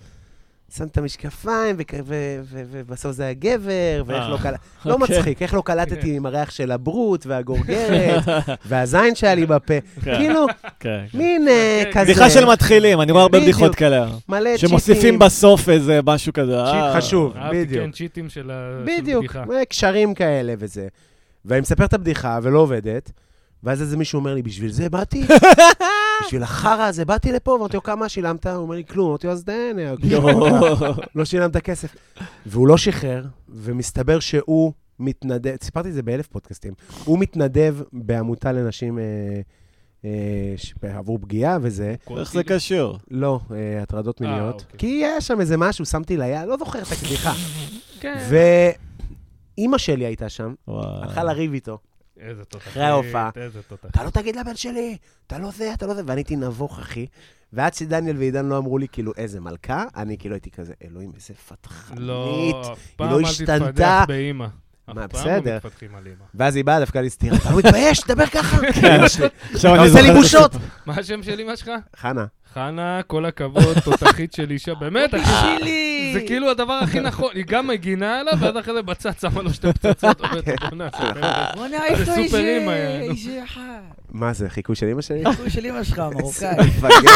שם את המשקפיים, וכ- ו- ו- ו- ובסוף זה היה גבר, ואיך
אה,
לא קלטתי... לא
אוקיי.
מצחיק, איך לא קלטתי עם הריח של הברוט, והגורגרת, והזין שהיה לי בפה.
כן,
כאילו,
כן. כן.
מין אה,
כן,
כזה...
בדיחה של מתחילים, אני רואה הרבה
בדיוק.
בדיחות כאלה.
מלא צ'יטים.
שמוסיפים בסוף איזה משהו כזה.
צ'יט
אה,
חשוב.
אהבתי,
בדיוק.
כן, צ'יטים של ה- של
בדיוק, אה,
בדיחה.
קשרים כאלה וזה. ואני מספר את הבדיחה ולא עובדת, ואז איזה מישהו אומר לי, בשביל זה באתי? בשביל החרא הזה באתי לפה? ואמרתי לו, כמה שילמת? הוא אומר לי, כלום. אמרתי לו, אז דיין,
יואו.
לא שילמת כסף. והוא לא שחרר, ומסתבר שהוא מתנדב, סיפרתי את זה באלף פודקאסטים, הוא מתנדב בעמותה לנשים אה, אה, ש- עבור פגיעה וזה.
איך זה קשור?
לא, אה, הטרדות
אה,
מיניות.
אוקיי.
כי היה שם איזה משהו, שמתי לה יד, לא זוכר את הקדיחה.
כן.
ואימא שלי הייתה שם,
וואו.
הלכה לריב איתו.
איזה תותחית.
אחרי ההופעה.
איזה תותחית.
אתה לא תגיד לבן שלי, אתה לא זה, אתה לא זה, ואני הייתי נבוך, אחי. ועד שדניאל ועידן לא אמרו לי, כאילו, איזה מלכה, אני כאילו הייתי כזה, אלוהים, איזה פתחנית.
לא, אף פעם
לא
אל
השתנתה.
תתפתח באימא.
מה,
אף פעם
בסדר.
לא מתפתחים על אימא.
ואז היא באה דווקא להסתיר, אתה לא מתבייש, תדבר ככה. אמא שלי,
עכשיו
אתה
אני
עושה לי
זוכר את
בושות.
מה השם של אימא שלך?
חנה,
חנה, כל הכבוד, תותחית של אישה, באמת, אחי, זה כאילו הדבר הכי נכון, היא גם מגינה עליו, ואז אחרי זה בצד שמה לו שתי פצצות, עובדת תמונה, זה באמת.
בוא נעיף
זה
אותו
סופר אימא,
איזה
יענו.
איזה אחד.
מה זה, חיקוי של אמא שלי?
הוא של אה, אמא שלך, מרוקאי.
מפגר,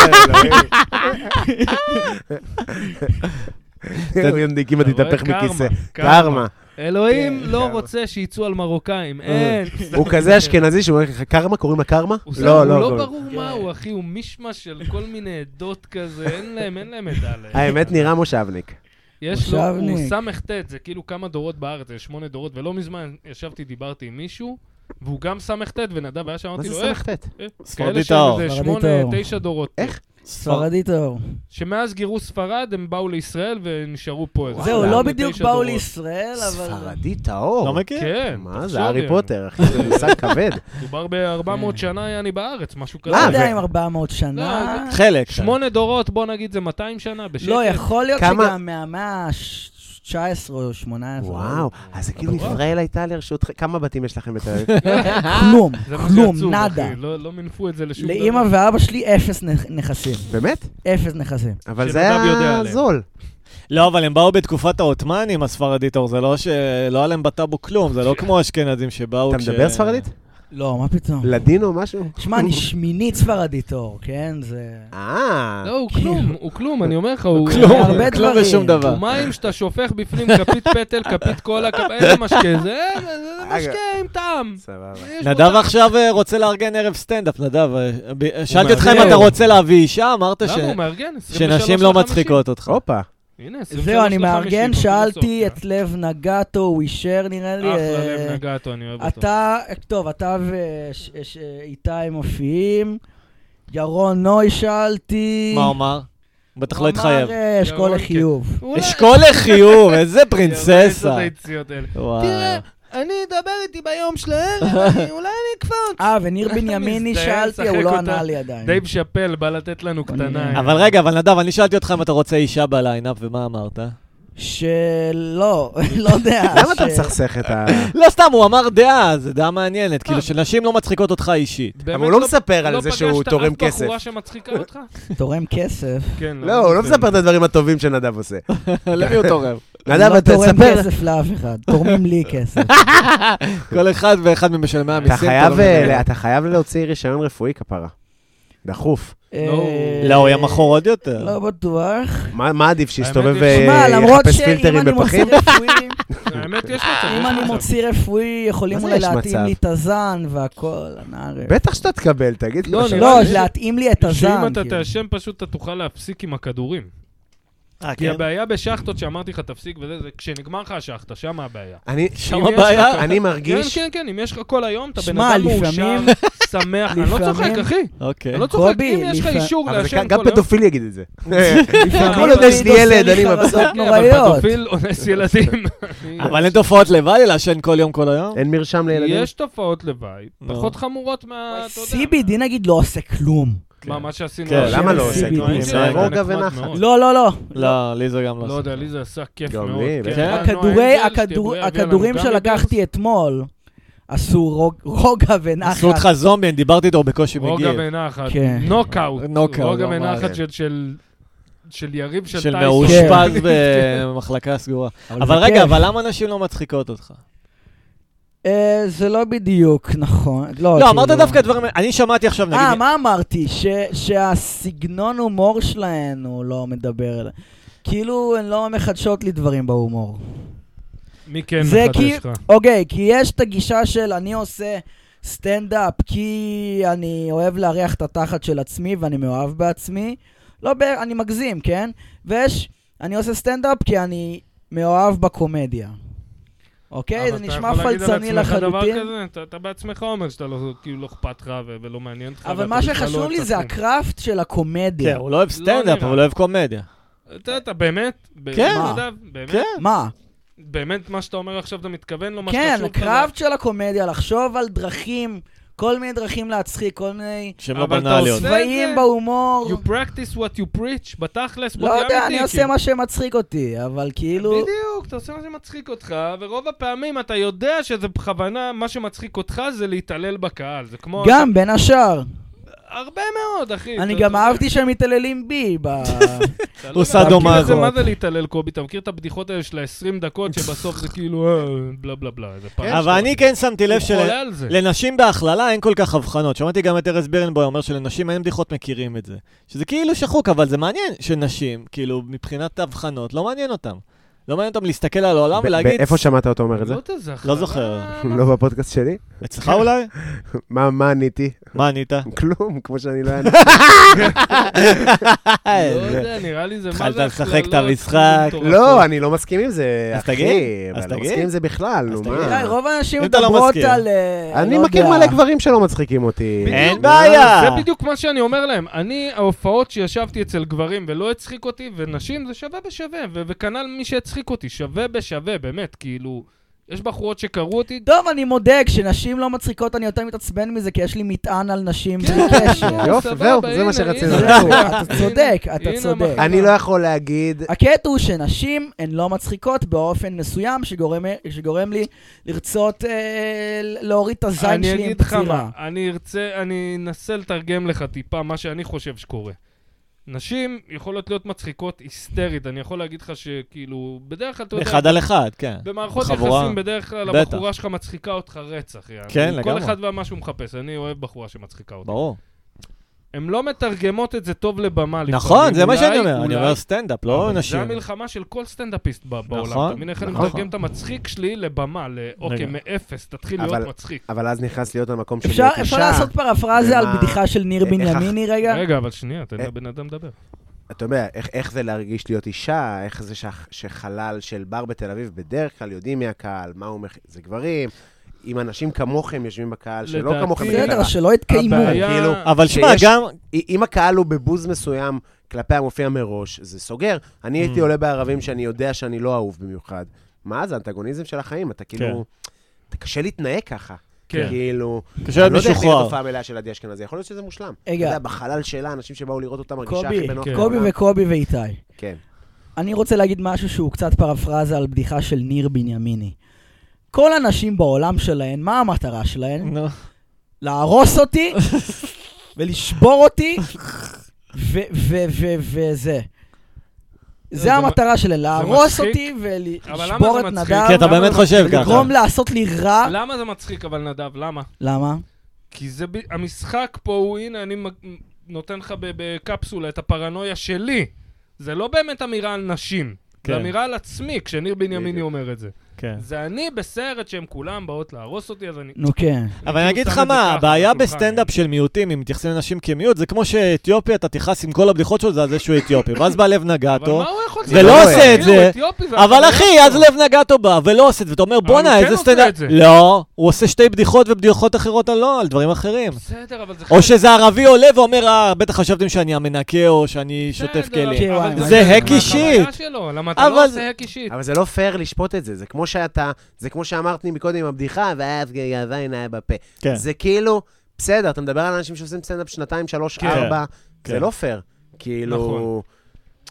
אלוהים. יונדיק, אמא
אתה רואה?
תתהפך
קרמה,
מכיסא.
קרמה.
קרמה.
אלוהים לא
קרמה.
רוצה שיצאו על מרוקאים, אין.
הוא כזה אשכנזי שהוא אומר לך, קרמה? קוראים לה קרמה?
הוא שם- הוא לא
קוראים.
ברור מה הוא, אחי, הוא מישמש של כל מיני עדות כזה, אין להם, אין להם עדה עליהם.
האמת, נראה מושבניק.
יש לו, הוא
מושבניק.
סט, זה כאילו כמה דורות בארץ, זה שמונה דורות, ולא מזמן ישבתי, דיברתי עם מישהו, והוא גם סט, ונדב היה שם,
מה
אמרתי
זה
לו, איך?
סמ"ט?
ספרדי
כאלה שהם
טהור.
איזה
ספרדי
שמונה,
טהור.
תשע דורות.
איך?
ספרדי טהור.
שמאז גירו ספרד, הם באו לישראל ונשארו פה איזה...
זהו,
שמונה,
לא
תשע
בדיוק באו
דורות.
לישראל, אבל...
ספרדי טהור.
לא מכיר?
כן,
מה
תחשוב,
זה, הארי
יענו.
פוטר, אחי, זה מושג כבד.
דובר ב-400 שנה, יעני, בארץ, משהו כזה.
לא
אה,
יודע
ו-
אם 400 שנה.
לא,
חלק.
שמונה דורות, בוא נגיד, זה 200 שנה, בשקט.
לא, יכול להיות
כמה-
שגם מהמאה ה-19 או 18.
וואו, אז זה כאילו ישראל הייתה לרשותך, כמה בתים יש לכם בתל אביב?
כלום,
זה מה
כלום,
שעצוב,
נאדה.
אחי, לא לא מינפו את זה לשום דבר.
לאימא ואבא שלי אפס נ- נכסים.
באמת?
אפס נכסים.
אבל זה
שנדב יודע
היה
עליהם.
זול.
לא, אבל הם באו בתקופת העות'מאנים, הספרדית, אור, זה לא ש... לא היה להם בטאבו כלום, זה לא
כן.
כמו האשכנזים שבאו
אתה
אוקיי.
כש...
מדבר ספרדית?
לא, מה פתאום?
לדינו משהו?
שמע, אני שמינית ספרדית אור, כן? זה...
אה,
לא, הוא
כאילו.
כלום, הוא כלום, אני אומר לך, הוא...
כלום,
הרבה
לא, כלום
דברים.
ושום דבר.
הוא מים שאתה שופך בפנים כפית פטל, כפית קולה, כפ- איזה משקה זה? אה, זה משקה עם טעם.
סבבה.
יש בו
נדב עכשיו אה, רוצה לארגן ערב סטנדאפ, נדב. אה, ב- שאלתי אותך אם
מארגן.
אתה רוצה להביא אישה, אמרת ש...
למה הוא מארגן? 23
שנשים לא
לחמישים.
מצחיקות אותך.
הופה,
אה,
הנה, 23
זהו, אני
לחמישים,
מארגן,
פרופסור
שאלתי
סופיה.
את לב נגטו, הוא אישר נראה לי.
אחלה
אה,
לב נגעתו, אני אוהב אותו.
אתה, טוב, אתה ואיתי מופיעים. ירון נוי שאלתי.
מה הוא אמר? בטח לא התחייב.
הוא אמר אה, אשכול
ירון, כן.
לחיוב.
אולי-
אשכול לחיוב, איזה פרינססה.
יראה את הציציות האלה.
וואו.
תראה, אני אדבר איתי ביום של הערב, אני- אולי אני אקפוץ.
אה, וניר בנימיני
מזדהה,
שאלתי,
משחק
הוא לא
אותה.
ענה לי עדיין.
דייב שאפל בא לתת לנו קטנה.
אבל רגע, אבל נדב, אני שאלתי אותך אם אתה רוצה אישה בליינאפ, ומה אמרת?
שלא, לא יודע.
למה אתה
ש- אה,
מסכסך את ה...
לא סתם, הוא אמר דעה, זו דעה מעניינת. כאילו, שנשים לא מצחיקות אותך אישית.
באמת
אבל הוא לא מספר על
לא
זה שהוא
פגשת
תורם
אף
כסף. כן,
בחורה שמצחיקה אותך?
תורם כסף.
כן,
לא, הוא לא מספר את הדברים הטובים שנדב עושה.
למי הוא תורם?
נדב, אתה
לא תורם
תספר...
כסף לאף אחד, תורמים לי כסף.
כל אחד ואחד ממשלמי
אתה
המיסים.
חייב,
לא
אה,
מבין.
אתה חייב להוציא רישיון רפואי כפרה. דחוף.
אה,
לא, הוא יהיה מכור עוד יותר.
לא בטוח.
מה מה עדיף, שיסתובב
האמת היא-
שמע, למרות
ויחפש
שאם
אה, פילטרים
אני מוציא
בפחים?
רפואי,
האמת, יש מצב.
אם
יש
אני
מצב.
מוציא רפואי, יכולים
מה זה
אולי
יש
להתאים
מצב?
לי את הזן והכל, נערב.
בטח שאתה תקבל, תגיד.
לא,
מה
נראה
שאתה-
לא,
לי ש-
להתאים לי את הזן.
שאם אתה
כאילו.
תעשן פשוט אתה תוכל להפסיק עם הכדורים.
אה,
כי
כן?
הבעיה בשחטות שאמרתי לך תפסיק וזה, זה כשנגמר לך השחטה, שם הבעיה.
אני,
שם
אם יש
הבעיה?
לך-
אני
כן,
מרגיש...
כן, כן, אם יש לך כל היום, אתה בן
שמע,
אדם מאושר,
לפעמים-
שמח. אני לא צוחק,
לפעמים-
אחי.
אוקיי.
אני לא צוחק,
קובי,
אם יש לך
לפע-
אישור
אבל זה
לעשן
גם
כל היום...
פדופיל יגיד את זה.
כל
לפעמים
עוד
יש לי
עושה
ילד,
כאילו לי
אני
חרדות
כן, אבל
נוראיות.
פדופיל אונס ילדים.
אבל אין תופעות לוואי לעשן כל יום, כל היום?
אין מרשם לילדים?
יש תופעות לוואי,
נו.
פחות חמורות מה... אתה יודע,
CBD נגיד לא עושה כלום.
מה, מה שעשינו...
כן,
השם
למה לא
הזה,
עושה
זה
כלום?
נחמד
זה רוגע
מאוד.
ונחת.
לא, לא, לא.
לא, לי זה גם לא
לא
עושה.
יודע, לי זה עשה כיף
גם
מאוד.
לי,
כן,
כן.
היה נועה
הכדורי,
אנג'ל,
הכדור-
שתבואי, אביאנה
הכדורים
מוגני
שלקחתי אתמול עשו רוג- רוגע
עשו
ונחת.
אותך זומבי, אני דיברתי איתו, הוא בקושי
ברז. רוגע
מגיב.
ונחת.
כן.
נוקאוט.
נוקאוט,
רוגע
לא
ונחת
מעניין.
של- של... של יריב של
של
טייסון. כן.
מאושפז במחלקה סגורה. אבל
זה
רגע,
כיף.
אבל למה נשים לא מצחיקות אותך?
אה, זה לא בדיוק נכון. לא,
לא,
כאילו-
אמרת דווקא דברים... אני שמעתי עכשיו, נגיד...
אה, מה אמרתי? ש- שהסגנון הומור שלהן הוא לא מדבר אליי. כאילו, הן לא מחדשות לי דברים בהומור.
מי כן
זה
מחדש
כי-
לך?
אוקיי, כי יש את הגישה של אני עושה סטנדאפ כי אני אוהב להריח את התחת של עצמי ואני מאוהב בעצמי. לא, ב- אני מגזים, כן? ויש, אני עושה סטנדאפ כי אני מאוהב בקומדיה. אוקיי?
אבל
זה
אתה
נשמע
יכול להגיד על
פלצני
עצמך דבר
לחלוטין.
כזה? אתה- אתה בעצמך אומר שאתה לא, כאילו, לא אכפת לך ו- ולא מעניין אותך.
אבל
ואתה
מה
בכלל לא
שחשוב
אוהב
לי
את
זה
התחום.
הקראפט של
כן,
הקומדיה.
הוא לא אוהב סטנדאפ,
נראה.
אבל הוא אוהב קומדיה.
אתה- אתה באמת? ב-
כן.
מה?
נדב, באמת?
כן.
מה?
באמת מה שאתה אומר עכשיו אתה מתכוון? לא מה
כן,
שחשוב לך?
הקראפט של הקומדיה, לחשוב על דרכים, כל מיני דרכים להצחיק, כל מיני
שהן לא
אבל אתה
בנאליות.
עושה-
צבעים
זה-
בהומור.
You practice what you preach, בתכלס, בוא
לא
תהיה
יודע, אני
אמיתי,
עושה
כאילו.
מה שמצחיק אותי, אבל כאילו...
בדיוק, אתה עושה מה שמצחיק אותך, ורוב הפעמים אתה יודע שזה בכוונה, מה שמצחיק אותך זה להתעלל בקהל. זה כמו...
גם, בין השאר.
הרבה מאוד, אחי.
אני
אתה-
גם
אתה-
אהבתי שהם מתעללים בי. ב-
אתה לא
הוא
יודע,
סאדו
אתה מכיר את זה,
מאזו.
מה זה להתעלל, קובי? אתה מכיר את הבדיחות האלה של ה-20 דקות, שבסוף זה כאילו, אה, בלה בלה בלה, איזה פעם.
אבל אני כן שמתי לב
של...
של...
הוא חולה על זה.
לנשים בהכללה אין כל כך הבחנות. שמעתי גם את ארז בירנבוי אומר שלנשים אין בדיחות מכירים את זה. שזה כאילו שחוק, אבל זה מעניין שנשים, כאילו, מבחינת הבחנות, לא מעניין אותם. לא מעניין אותם להסתכל על העולם
ב-
ולהגיד...
איפה שמעת אותו אומר את זה?
לא תזכר.
לא זוכר.
אה, מה-
לא בפודקאסט שלי?
אצלך אולי?
מה מה עניתי?
מה ענית?
כלום, כמו שאני לא עניתי.
לא
אה,
יודע, נראה לי זה מה זה...
התחלת לשחק
הכללות,
את המשחק.
מטורפות.
לא, אני לא מסכים עם זה,
אז
אחי.
תגיד, אז
אני לא
תגיד.
מסכים עם זה בכלל,
אז
נו
תגיד.
מה.
אה,
די, רוב האנשים
אם אתה לא
מדברות
מסכים.
על... אה,
אני
לא
מכיר
יודע.
מלא גברים שלא מצחיקים אותי.
אין
זה
בעיה!
בדיוק מה שאני אומר להם. אני, ההופעות שישבתי אצל גברים ולא הצחיק אותי, ונשים זה שווה בשווה, ו- וכנ"ל מי שהצחיק אותי, שווה בשווה, באמת, כאילו, יש בחורות שקראו אותי,
טוב, אני מודה, כשנשים לא מצחיקות אני יותר מתעצבן מזה, כי יש לי מטען על נשים
כן,
בלי קשר.
יופי,
סבבה,
זהו, זה
הנה,
מה שרציתי
הנה,
זהו,
הנה,
אתה צודק,
הנה,
אתה
הנה
צודק.
המחלה.
אני לא יכול להגיד...
הקטע הוא שנשים הן לא מצחיקות באופן מסוים שגורם, שגורם לי לרצות אה, להוריד את הזין
אני
שלי עם
אגיד לך מה,
פצירה.
אני ארצה, אני אנסה לתרגם לך טיפה מה שאני חושב שקורה. נשים יכולות להיות מצחיקות היסטרית, אני יכול להגיד לך שכאילו, בדרך כלל, אתה יודע,
אחד על אחד, כן.
במערכות
חבורה.
יחסים בדרך כלל
בטח.
הבחורה שלך מצחיקה אותך רצח, יעני.
כן,
כל
לגמרי.
אחד ומה שהוא מחפש, אני אוהב בחורה שמצחיקה אותי.
ברור.
הן לא מתרגמות את זה טוב לבמה לפעמים.
נכון, זה מה
אולי-
שאני אומר. אני
אולי-
אומר סטנדאפ, לא
אבל זה
נשים.
המלחמה של כל סטנדאפיסט ב- בעולם.
נכון,
אתה מבין איך אני
נכון.
מתרגם את המצחיק שלי לבמה, לאוקיי,
רגע.
מאפס, תתחיל
אבל-
להיות מצחיק.
אבל אז נכנס להיות המקום של
אפשר,
להיות
אפשר
אישה.
לעשות פרפרזה על
ומה-
בדיחה של ניר
איך-
בנימיני רגע?
רגע, אבל שנייה, תן
אה.
לבן אדם לדבר.
אתה יודע, איך, איך זה להרגיש להיות אישה, איך זה שח, שחלל של בר בתל אביב, בדרך כלל יודעים מי הקהל, מה הוא מכ... זה גברים, אם אנשים כמוכם יושבים בקהל, שלא
לדעתי-
כמוכם... יודעים
בסדר,
למה.
שלא יתקיימו.
הבעיה-
כאילו,
אבל שמע,
שיש-
גם...
אי- אם הקהל הוא בבוז מסוים כלפי המופיע מראש, זה סוגר. אני הייתי
Mm.
עולה בערבים שאני יודע שאני לא אהוב במיוחד. מה זה אנטגוניזם של החיים? אתה כאילו... אתה קשה להתנהג ככה.
כן.
כאילו,
קשה
אני לא
להיות
יודע איך נראית
משוחרר.
הופעה מלאה של עדי אשכנזי, יכול להיות שזה מושלם.
רגע.
אתה יודע, בחלל שלה, אנשים שבאו לראות אותה מרגישה הכי
קובי,
בנוח.
כן.
קובי
בעולם.
וקובי ואיתי.
כן.
אני רוצה להגיד משהו שהוא קצת פרפרזה על בדיחה של ניר בנימיני. כל הנשים בעולם שלהן, מה המטרה שלהן?
נו.
להרוס אותי ולשבור אותי ו- ו- ו- וזה.
לא, זה
זה המטרה שלהם, להרוס
מצחיק.
אותי
אבל למה
ולשבור
זה
את
מצחיק?
נדב,
כי כן, אתה
למה
באמת
זה
חושב
מצחיק?
ככה.
לגרום לעשות לי רע.
למה זה מצחיק אבל, נדב? למה?
למה?
כי זה ב- המשחק פה הוא, הנה, אני מג- נותן לך ב- בקפסולה את הפרנויה שלי. זה לא באמת אמירה על נשים.
כן.
זה אמירה על עצמי, כשניר בנימיני
בדיוק.
אומר את זה.
כן.
זה אני בסרט שהם כולם באות להרוס אותי, אז אני...
נו כן.
אבל אני אגיד
כאילו
לך
שם את זה ככה
מה,
על
הבעיה
השולחן.
בסטנדאפ של מיעוטים, אם מתייחסים לנשים כמיעוט, זה כמו שאתיופי, אתה תכעס עם כל הבדיחות שלו, זה על זה שהוא אתיופי. ואז בא לב
אבל
נגטו,
מה הוא יכול לעשות?
ולא
הוא
לא עושה את
כאילו
זה.
אתיופי
אבל
והחבר
אחי, אז לא-
שלו.
לב נגטו בא ולא עושה את זה, ואתה אומר,
אבל הוא
בואנה,
כן
איזה
עושה את
סטנדאפ...
זה.
לא, הוא עושה שתי בדיחות ובדיחות אחרות על לא, על דברים אחרים.
בסדר, אבל זה
או
חלק-
שזה ערבי עולה ואומר, אה, בטח חשבתם שאני המנקה או שאני שוטף
בסדר,
כלים.
כן,
אבל לא
וואי,
זה
חלק
hack
מהחוויה
אישית.
שלו, למה אתה
אבל-
לא עושה הק אישית?
אבל זה לא פייר לשפוט את זה, זה כמו שאתה, זה כמו שאמרת לי מקודם עם הבדיחה, ואז גאווה עיניה בפה.
כן.
זה כאילו, בסדר, אתה מדבר על אנשים שעושים סטנדאפ שנתיים, שלוש,
כן.
ארבע,
כן.
זה לא פייר.
נכון.
כאילו,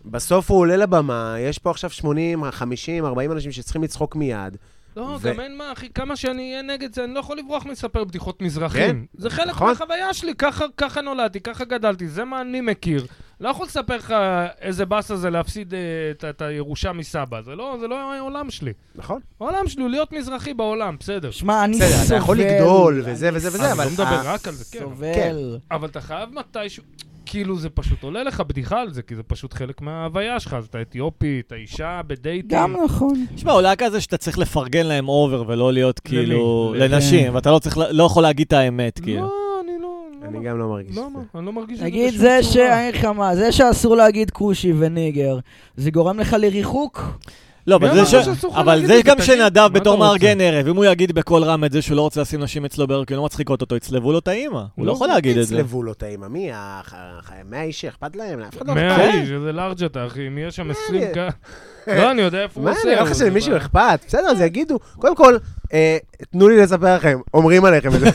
בסוף הוא עולה לבמה, יש פה עכשיו 80, 50, 40 אנשים שצריכים לצחוק מיד.
לא,
ו-
גם אין מה, אחי, כמה שאני אהיה נגד זה, אני לא יכול לברוח מלספר בדיחות מזרחים. זה חלק
נכון.
מהחוויה שלי, ככה- ככה נולדתי, ככה גדלתי, זה מה אני מכיר. לא יכול לספר לך איזה באסה זה להפסיד אה, את- את הירושה מסבא, זה לא זה לא העולם שלי.
נכון.
העולם שלי הוא להיות מזרחי בעולם, בסדר.
שמע, אני סובל.
בסדר, אתה יכול לגדול, וזה וזה וזה,
אני
אבל... אה,
לא
ה-
מדבר רק על זה, כן. אבל-
סובל.
אבל אתה חייב מתישהו, כאילו זה פשוט עולה לך בדיחה על זה, כי זה פשוט חלק מההוויה שלך, אז אתה אתיופי, אתה אישה בדייטים.
גם נכון.
כן.
תשמע, אולי כזה שאתה צריך לפרגן להם אובר ולא להיות
למי?
כאילו...
ל-
לנשים, ואתה לא צריך, לא יכול להגיד את האמת, כאילו.
כן. לא, אני לא...
אני גם לא מרגיש
לא,
את
מה,
זה.
אני לא מרגיש את זה
נגיד
בשום
זה ש...
צורה.
אני אגיד לך מה, זה שאסור להגיד כושי וניגר, זה גורם לך לריחוק?
לא,
מי
אבל זה
אמר
ש...
שאסור לך
אבל
להגיד
זה
את זה?
גם
תגיד, מה
שנדב
אתה
בתור
רוצה?
מארגן ערב, אם הוא יגיד בקול רם את זה שהוא לא רוצה לשים נשים אצלו בערב, כי הן לא מצחיקות אותו, יצלבו לו את האימא. הוא לא
לא,
יכול להגיד את זה.
יצלבו לו את האמא, מי? הח- הח- מאה איש שאכפת להם? לאף אחד לא אכפת.
מאה
אכפת.
איש, איזה לארג' אתה, אחי, אם יהיה שם 20
אני-
כ... לא, אני יודע איפה הוא
מה,
עושה.
נראה
הוא-
לך שלמישהו
זה-
אכפת? בסדר, אז יגידו. קודם כל, אה, תנו לי לספר לכם, אומרים עליכם את זה.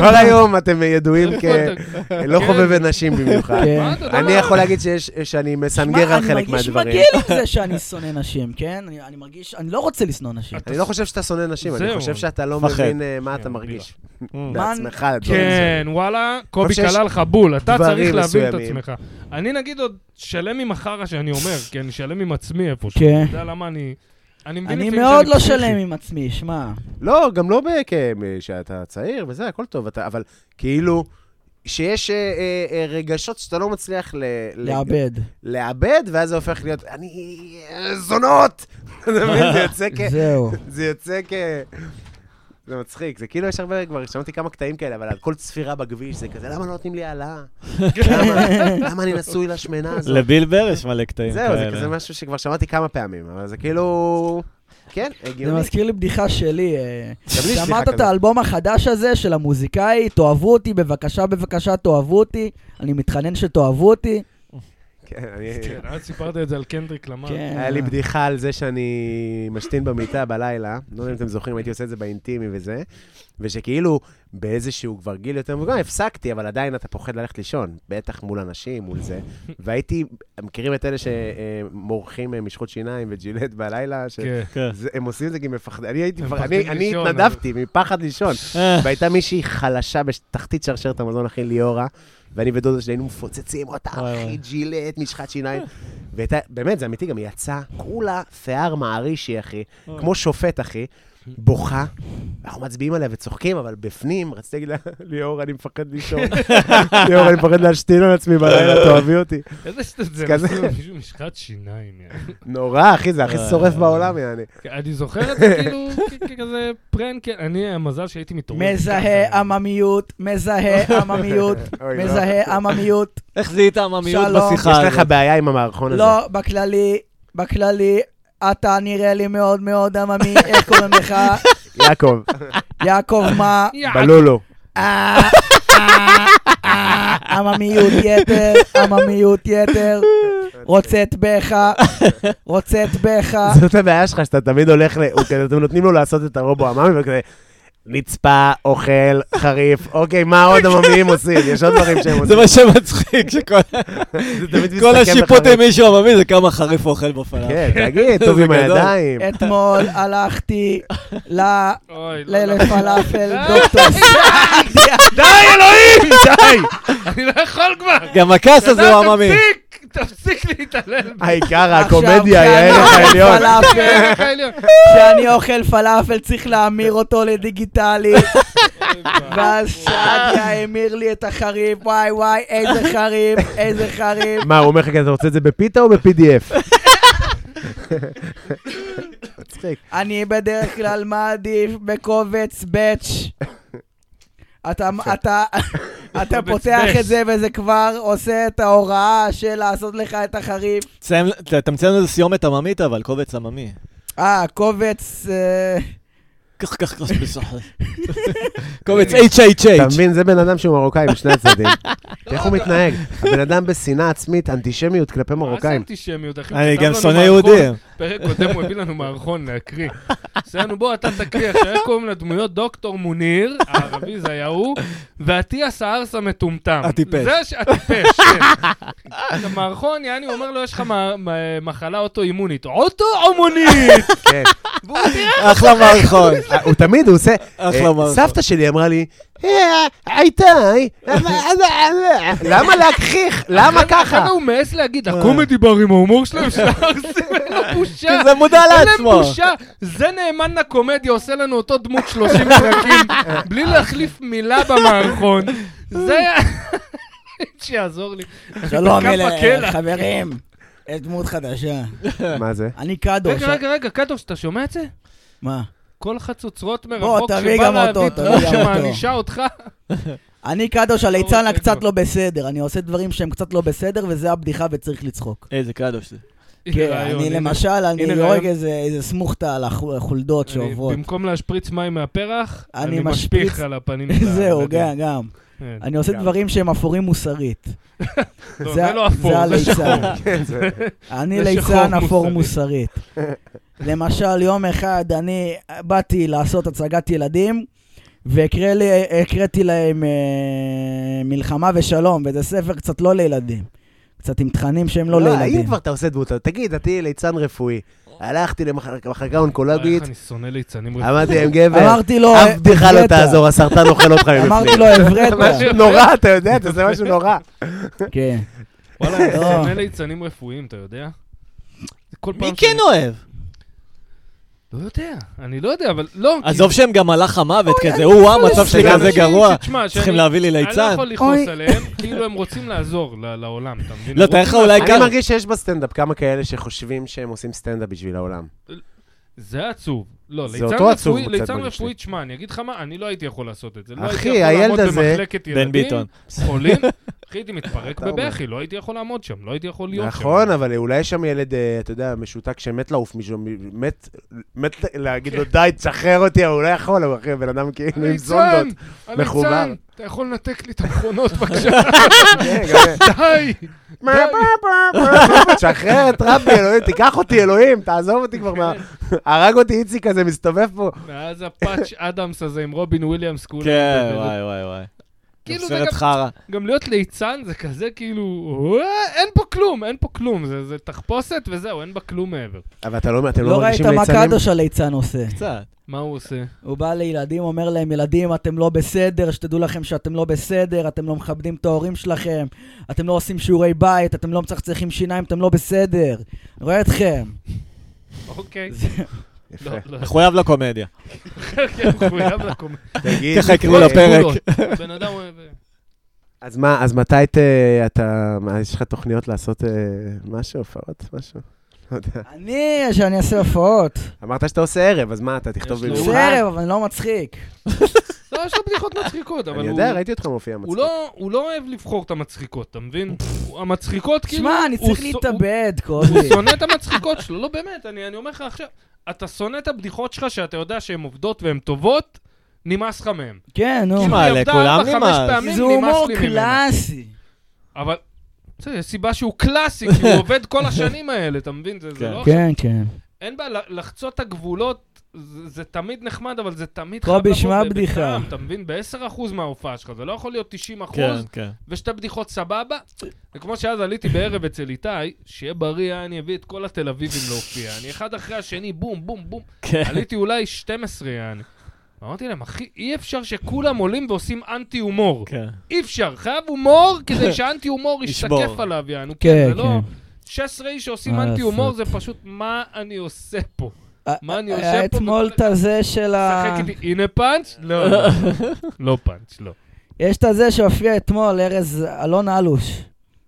כל היום אתם ידועים
איפה
כ...
אתה-
לא
נכון, כן.
חובבי נשים במיוחד.
כן.
מה אתה יודע?
אני יכול להגיד שיש- אה, שאני מסנגר על חלק
אני מרגיש
מהדברים.
מגעיל עם זה שאני שונא נשים, כן? אני, אני מרגיש, אני לא רוצה לשנוא נשים.
אתה-
אני לא חושב שאתה שונא נשים, אני
זהו.
חושב שאתה לא
מפחד.
מבין אה, מה אתה
כן,
מרגיש
Mm.
בעצמך. לדברים
כן,
מסוימים.
וואלה, קובי
שיש
כלל לך בול, אתה
דברים
צריך להבין את
מסוימים.
עצמך. אני נגיד עוד שלם עם החרא שאני אומר, כי אני שלם עם עצמי איפשהו.
כן.
אתה יודע למה אני... אני מבין
אני
לפעמים
מאוד
שאני
לא
פסיכי.
שלם עם עצמי, שמע.
לא, גם לא בכ- אה, שאתה צעיר וזה, הכל טוב, אתה- אבל כאילו, שיש אה, אה, אה, רגשות שאתה לא מצליח ל- ל-
לאבד.
לאבד, ואז זה הופך להיות, אני... אה, זונות! אתה מבין? זה יוצא כ...
זהו.
זה יוצא כ... זה מצחיק, זה כאילו יש הרבה, כבר שמעתי כמה קטעים כאלה, אבל על כל צפירה בכביש זה כזה, למה לא נותנים לי העלאה? למה- למה אני נשוי לשמנה הזאת?
לביל בר יש מלא קטעים
זהו, זה
כאלה.
כזה משהו שכבר שמעתי כמה פעמים, אבל זה כאילו... כן,
זה
הגיוני.
מזכיר לי בדיחה שלי. אה,
לי יש
שמעת
בדיחה
את האלבום החדש הזה של המוזיקאי? תאהבו אותי, בבקשה, בבקשה, תאהבו אותי. אני מתחנן שתאהבו אותי.
כן, אני-
כן, אז סיפרת את זה על קנדריק למר.
כן.
היה לי בדיחה על זה שאני משתין במיטה בלילה, לא יודע אם אתם זוכרים, הייתי עושה את זה באינטימי וזה, ושכאילו באיזשהו כבר גיל יותר מבוגר, הפסקתי, אבל עדיין אתה פוחד ללכת לישון, בטח מול אנשים, מול זה. והייתי, מכירים את אלה שמורחים אה, משחות שיניים וג'ילט בלילה? ש-
כן.
כן.
זה- הם עושים את זה כי הם מפחדים, אני הייתי,
הם
מפחד-
מפחדים
אני- אני
לישון, אבל-
התנדבתי מפחד לישון.
אה,
והייתה מישהי חלשה בתחתית שרשרת המזון, אחי ליאורה, ואני ודודה שלי היינו מפוצצים אותה,
וואי, וואי.
אחי ג'ילט, משחת שיניים. והייתה, באמת, זה אמיתי, גם היא יצאה כולה שיער מערישי, אחי, כמו שופט, אחי, בוכה. אנחנו מצביעים עליה וצוחקים, אבל בפנים, רציתי להגיד לה, ליאור, אני מפחד לישון. ליאור, אני מפחד להשתין על עצמי בלילה, תאהבי אותי.
איזה שטות זה,
כזה.
לשים לו מישהו משחת שיניים. יעני.
נורא, אחי, זה הכי
וואי,
שורף
וואי.
בעולם, יעני.
אני זוכר את זה כאילו כ- כ- כזה פרנק, אני המזל שהייתי מתעורר.
מזהה עממיות, מזהה עממיות,
אוי, לא.
מזהה עממיות.
איך זיהית עממיות
שלום.
בשיחה
יש לך
הזאת?
בעיה עם המערכון הזה.
לא, בכללי, בכללי, אתה נראה לי מאוד מאוד עממי, איך קוראים לך?
יעקב,
יעקב, מה?
יעק.
בלולו.
אה, אה, אה, עממיות יתר, עממיות יתר, רוצה את בך, רוצה את בך.
זאת הבעיה שלך, שאתה תמיד הולך ל... הוא כזה, אתם נותנים לו לעשות את הרובו המאמי, וכזה, נצפה, אוכל, חריף, אוקיי, מה עוד המאמיים עושים? יש עוד דברים שהם
זה
עושים.
מה שמצחיק, שכל
זה תמיד
כל
מסתכם
השיפוט עם
בחריף.
מישהו עממי זה כמה חריף הוא אוכל בפלאפל.
כן, תגיד, טוב
זה
עם
גדול.
הידיים.
אתמול הלכתי ל...
אוי, לא, לא.
לפלאפל דוקטור סעדיה.
די, אלוהים! די! אני לא יכול כבר!
גם הכעס הזה הוא
אתה
עממי.
תפסיק! תפסיק להתעלל כן, בי.
העיקר,
עכשיו,
הקומדיה היא הערך
כשאני אוכל
העליון.
זה
פלאפל,
הערך העליון.
כשאני אוכל פלאפל צריך להמיר אותו לדיגיטלי,
אוי,
ואז
וואי.
סעדיה המיר לי את החריף, וואי וואי, איזה חריף, איזה חריף.
"כן, מה, הוא אומר לך כזה, אתה רוצה את זה בפיתה או ב-PDF? מצחיק.
אני בדרך כלל מעדיף בקובץ באץ'. אתה, אתה, אתה
בקובץ
פותח
באץ'.
את זה וזה כבר עושה את ההוראה של לעשות לך את החריף.
תסיים- ת- תמצאנו איזה סיומת עממית, אבל קובץ עממי.
אה, קובץ... אה,
כך כך כך בסוחר. קובץ HHH.
אתה מבין, זה בן אדם שהוא מרוקאי משני הצדדים. איך הוא מתנהג? הבן אדם בשנאה עצמית, אנטישמיות כלפי
מה זה
מרוקאים.
אנטישמיות, אחי? הוא
אני
כתב
גם
לנו
שונא
מערכון.
יהודים.
פרק קודם הוא הביא לנו מערכון להקריא. עשה לנו, בוא, אתה תקריא, עכשיו איך קוראים לדמויות? דוקטור מוניר, הערבי זה היה הוא, ואטיאס הארסה מטומטם.
הטיפש.
זה ש- הטיפש, כן. במערכון, יעני, הוא אומר לו, יש לך מ- מ- מחלה אוטואימונית. אוטואימונית!
כן.
והוא תראה,
אחלה מערכון.
הוא תמיד, הוא עושה...
אחלה
אה,
מערכון.
סבתא שלי אמרה לי, "אה, איתי, למה להגחיך? למה ככה?
ככה הוא מעז להגיד, הקומדי בר עם ההומור שלהם, של הארסים, אין לו בושה.
כי זה מודע
אין להם
לעצמו.
בושה. זה נאמן לקומדיה, עושה לנו אותו דמות 30 פרקים, בלי להחליף מילה במערכון. זה... שיעזור לי.
שלום,
בכף
אלה,
הקלע.
חברים. יש דמות חדשה.
מה זה?
אני קדוש.
רגע, רגע, רגע, קדוש, אתה שומע את זה?
מה?
כל חצוצרות
בוא,
מרחוק
תביא
שבא
גם אותו,
להביא
תביא
דמות
גם אותו.
שמענישה אותך.
אני קדוש, הליצן
רוצה
הקצת
לבדוק.
לא בסדר. אני עושה דברים שהם קצת לא בסדר, וזה הבדיחה וצריך לצחוק.
איזה קדוש זה.
כן,
הנה רעיון,
אני
הנה.
למשל, אני
הנה
הורג
רעיון.
איזה איזה סמוכתה על החו- החולדות
אני-
שעוברות.
במקום להשפריץ מים מהפרח,
אני
אני
משפריץ-
משפיך על הפנים. של
זהו,
הילדים.
גם, גם.
כן.
אני עושה
גם.
דברים שהם אפורים מוסרית.
לא,
זה-
זה לא אפור,
זה
זה
הליצן.
שחור.
כן, זה-
אני
זה
ליצן
שחור
אפור
מוסרי.
מוסרית. למשל, יום אחד אני באתי לעשות הצגת ילדים, והקראתי להם אה, מלחמה ושלום, וזה ספר קצת לא לילדים. קצת עם תכנים שהם לא
אם
לילדים.
כבר אתה עושה דמות, תגיד, אני ליצן רפואי. הלכתי למח- למחלקה
וואי,
אונקולוגית,
איך אני שונא ליצנים רפואיים.
אמרתי להם, גבר,
אמרתי לו,
אף בדיחה לא
"הבראת".
תעזור, הסרטן אוכל אותך מבפנים.
אמרתי לו, הבראת.
משהו נורא, אתה יודע, אתה עושה משהו נורא.
כן.
וואלה, אני
לא.
שונא ליצנים רפואיים, אתה יודע? כל פעם
מי
שאני-
כן אוהב?
לא יודע, אני לא יודע, אבל לא.
עזוב שהם גם הלך המוות כזה, או וואו, המצב שלי
לסדר.
כזה גרוע,
תשמע,
צריכים
שאני-
להביא לי
אני לא
ליצן.
יכול לכעוס
אוי.
עליהם, כאילו הם רוצים לעזור ל- לעולם, אתה מבין?
לא, תאר לך אולי
אני
כמה.
מרגיש שיש בסטנדאפ כמה כאלה שחושבים שהם עושים סטנדאפ בשביל העולם.
זה עצוב. לא,
זה
ליצן
אותו עצוב
רפואי,
קצת
ליצן
מרגיש לי.
רפואי, תשמע, אני אגיד לך מה, אני לא הייתי יכול לעשות את זה. לא
אחי,
הייתי יכול
הילד
לעמוד
הזה-
במחלקת
בן
ילדים,
ביטון.
חולים, אחי, הייתי מתפרק
אתה אומר.
בבכי, לא הייתי יכול לעמוד שם, לא הייתי יכול להיות שם.
נכון, אבל אולי יש שם ילד, אה, אתה יודע, משותק שמת לעוף מישהו, מ- מת מת להגיד לו, די, תשחרר אותי, אבל הוא לא יכול, הוא אחי, בן אדם כאילו עם
הליצן,
זונדות. מחובר.
הליצן, אתה יכול לנתק לי את המכונות בבקשה,
כן, גם-
די.
תשחרר את רבי, אלוהים, תיקח אותי, אלוהים, תעזוב אותי כבר מה... הרג אותי איציק הזה, מסתובב פה.
מאז הפאץ' אדמס הזה עם רובין וויליאמס, כולם.
כן,
מדברים.
וואי, וואי, וואי.
כאילו זה
סרט
גם-
חרא.
גם להיות ליצן זה כזה כאילו, "אה, אין פה כלום, אין פה כלום, זה זה תחפושת וזהו, אין בה כלום מעבר.
אבל אתה לא, אתם לא
לא ראית
מרגישים
מה
ליצנים?
קדוש הליצן עושה.
קצת.
מה הוא עושה?
הוא בא לילדים, אומר להם, ילדים, אתם לא בסדר, שתדעו לכם שאתם לא בסדר, אתם לא מכבדים את ההורים שלכם, אתם לא עושים שיעורי בית, אתם לא מצחצחים שיניים, אתם לא בסדר. אני רואה אתכם.
אוקיי.
יפה.
לא, לא,
מחויב לקומדיה.
כן, מחויב לקום.
תגיד,
ככה יקראו
אה,
לפרק.
לא. בן אדם אוהב...
אז מה, אז מתי ת- אתה, מה, יש לך תוכניות לעשות אה, משהו, הופעות, משהו? לא יודע.
אני, שאני אעשה הופעות.
אמרת שאתה עושה ערב, אז מה, אתה תכתוב
יש לו-
במיוחד?
זה ערב, אבל אני לא מצחיק.
לא, יש לו בדיחות מצחיקות, אבל
אני
הוא- לא-
יודע, ראיתי אותך מופיע
הוא
מצחיק.
לא- הוא לא אוהב לבחור את המצחיקות, אתה מבין? הוא- המצחיקות כאילו...
שמע, אני
הוא
צריך
ש-
להתאבד,
הוא
קובי.
שונא את המצחיקות שלו, לא באמת, אני אני אומר לך עכשיו, אתה שונא את הבדיחות שלך שאתה יודע שהן עובדות והן טובות, נמאס לך מהן. כאילו,
כן, נו.
שמע,
היא עבדה
לכולם
ארבע, חמש
נמאס.
פעמים,
זה
נמאס
הומור
לי ממנה.
קלאסי.
אבל... בסדר, יש סיבה שהוא קלאסי, כי הוא עובד כל השנים האלה, אתה מבין? זה, זה
כן.
לא עכשיו...
כן, כן.
אין בעיה, ל- לחצות את הגבולות, זה, זה תמיד נחמד, אבל זה תמיד
קובי,
לבוא
שמע
בטעם,
בדיחה.
אתה מבין? ב-10% מההופעה שלך, זה לא יכול להיות 90%,
כן,
כן.
כן.
ושתי בדיחות סבבה. וכמו שאז עליתי בערב אצל איתי, שיהיה בריא, אה, אני אביא את כל התל אביבים להופיע. אני אחד אחרי השני, בום, בום, בום.
כן.
עליתי אולי 12 יעני. אמרתי להם, אחי, אי אפשר שכולם עולים ועושים אנטי הומור.
כן.
אי אפשר, חייב הומור כדי שהאנטי הומור
ישבור.
ישתקף עליו, יענו.
כן,
כן, זה לא...
כן. אה,
16 איש שעושים
מה
אנטי הומור, זה
לעשות?
פשוט מה אני עושה פה. מה אני עושה
היה
פה?
אתמול את הזה של ה...
שחק איתי, הנה פאנץ'? לא, לא. לא פאנץ', לא.
יש את הזה שהופיע אתמול, ארז אלון אלוש.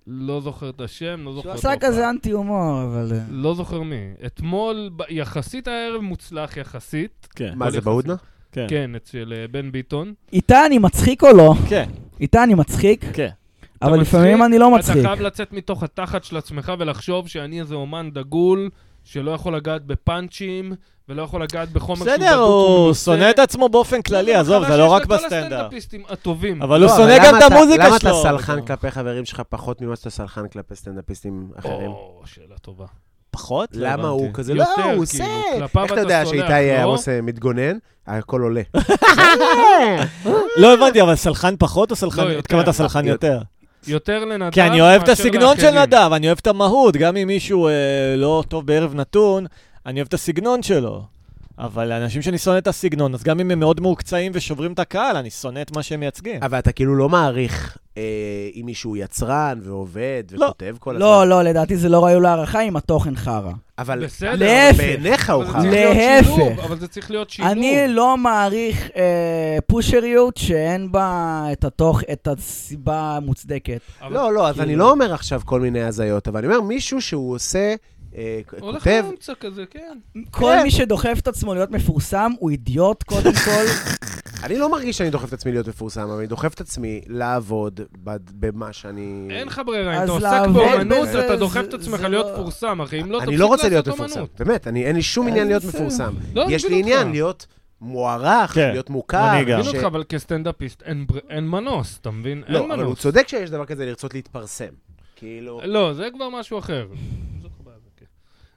לא זוכר את השם, לא זוכר את
שהוא עשה כזה אנטי הומור, אבל... אה,
לא זוכר מי. אתמול, ב- יחסית הערב מוצלח יחסית.
כן,
מה, זה בהודנה?
כן,
כן, אצל אה, בן ביטון.
איתה אני מצחיק או לא?
כן,
איתה אני מצחיק,
כן.
אתה
אבל
מצחיק,
לפעמים אני לא
אתה
מצחיק.
חייב לצאת מתוך התחת של עצמך ולחשוב שאני איזה אומן דגול, שלא יכול לגעת בפאנצ'ים, ולא יכול לגעת בחומר שהוא לא,
בסדר, הוא שונא את עצמו באופן כללי, עזוב, זה לא רק בסטנדאפ.
הסטנדאפיסטים הטובים.
אבל הוא
לא,
שונא
אבל
גם
למה
את
אתה-
המוזיקה שלו.
למה אתה סלחן כלפי חברים שלך פחות ממה שאתה סלחן כלפי סטנדאפיסטים אחרים?
או, שאלה טובה.
פחות? לא
למה הוא
הבנתי.
כזה?
לא, יותר,
לא, הוא
כאילו,
עושה...
כלפיו
איך אתה
אתה
יודע
סולח,
שאיתי
לא?
עמוס אה, מתגונן? הכל עולה.
לא הבנתי, אבל סלחן פחות או סלחן...
לא, יותר.
התכוונת סלחן
יותר.
יותר.
יותר לנדב
כי אני אוהב את
מאשר
הסגנון של
לאחרים.
נדב, אני אוהב את המהות, גם אם מישהו אה, לא טוב בערב נתון, אני אוהב את הסגנון שלו. אבל לאנשים שאני שונא את הסגנון, אז גם אם הם מאוד מעוקצאים ושוברים את הקהל, אני שונא את מה שהם מייצגים.
אבל אתה כאילו לא מעריך אה, אם מישהו יצרן ועובד וכותב כל הזמן.
לא, לא, לדעתי זה לא ראוי להערכה אם התוכן חרא.
אבל
בסדר.
להפך.
בעיניך הוא
אבל זה
חרא.
צריך להיות
להפך.
שילוב, אבל זה צריך להיות שילוב.
אני לא מעריך אה, פושריות שאין בה את התוך, את הסיבה המוצדקת.
אבל-
לא, לא, אז
כאילו-
אני לא אומר עכשיו כל מיני הזיות, אבל אני אומר מישהו שהוא עושה, אה,
הולך
כותב...
לאמצע כזה, כן.
כל מי שדוחף את עצמו להיות מפורסם הוא אידיוט קודם כל.
אני לא מרגיש שאני דוחף את עצמי להיות מפורסם, אבל אני דוחף את עצמי לעבוד בד- במה שאני...
אין לך ברירה, אם
אז
אתה עוסק
לעבוד
באומנות,
בזה,
אתה דוחף
זה-
את עצמך
זה
להיות
לא-
מפורסם, אחי. אם לא,
אני
תפסיק
לא רוצה
לעשות
להיות מפורסם,
אומנות.
באמת, אני- אין לי שום עניין להיות מפורסם.
לא, אני
יש
מבין
לי עניין
אותך.
להיות מוערך,
כן,
להיות מוכר.
אני גם.
מבין
ש-
אותך, אבל כסטנדאפיסט אין בר- אין מנוס, אתה מבין? אין
לא, אבל הוא
מנוס.
צודק שיש דבר כזה לרצות להתפרסם. כאילו...
לא, זה כבר משהו אחר. לא כן.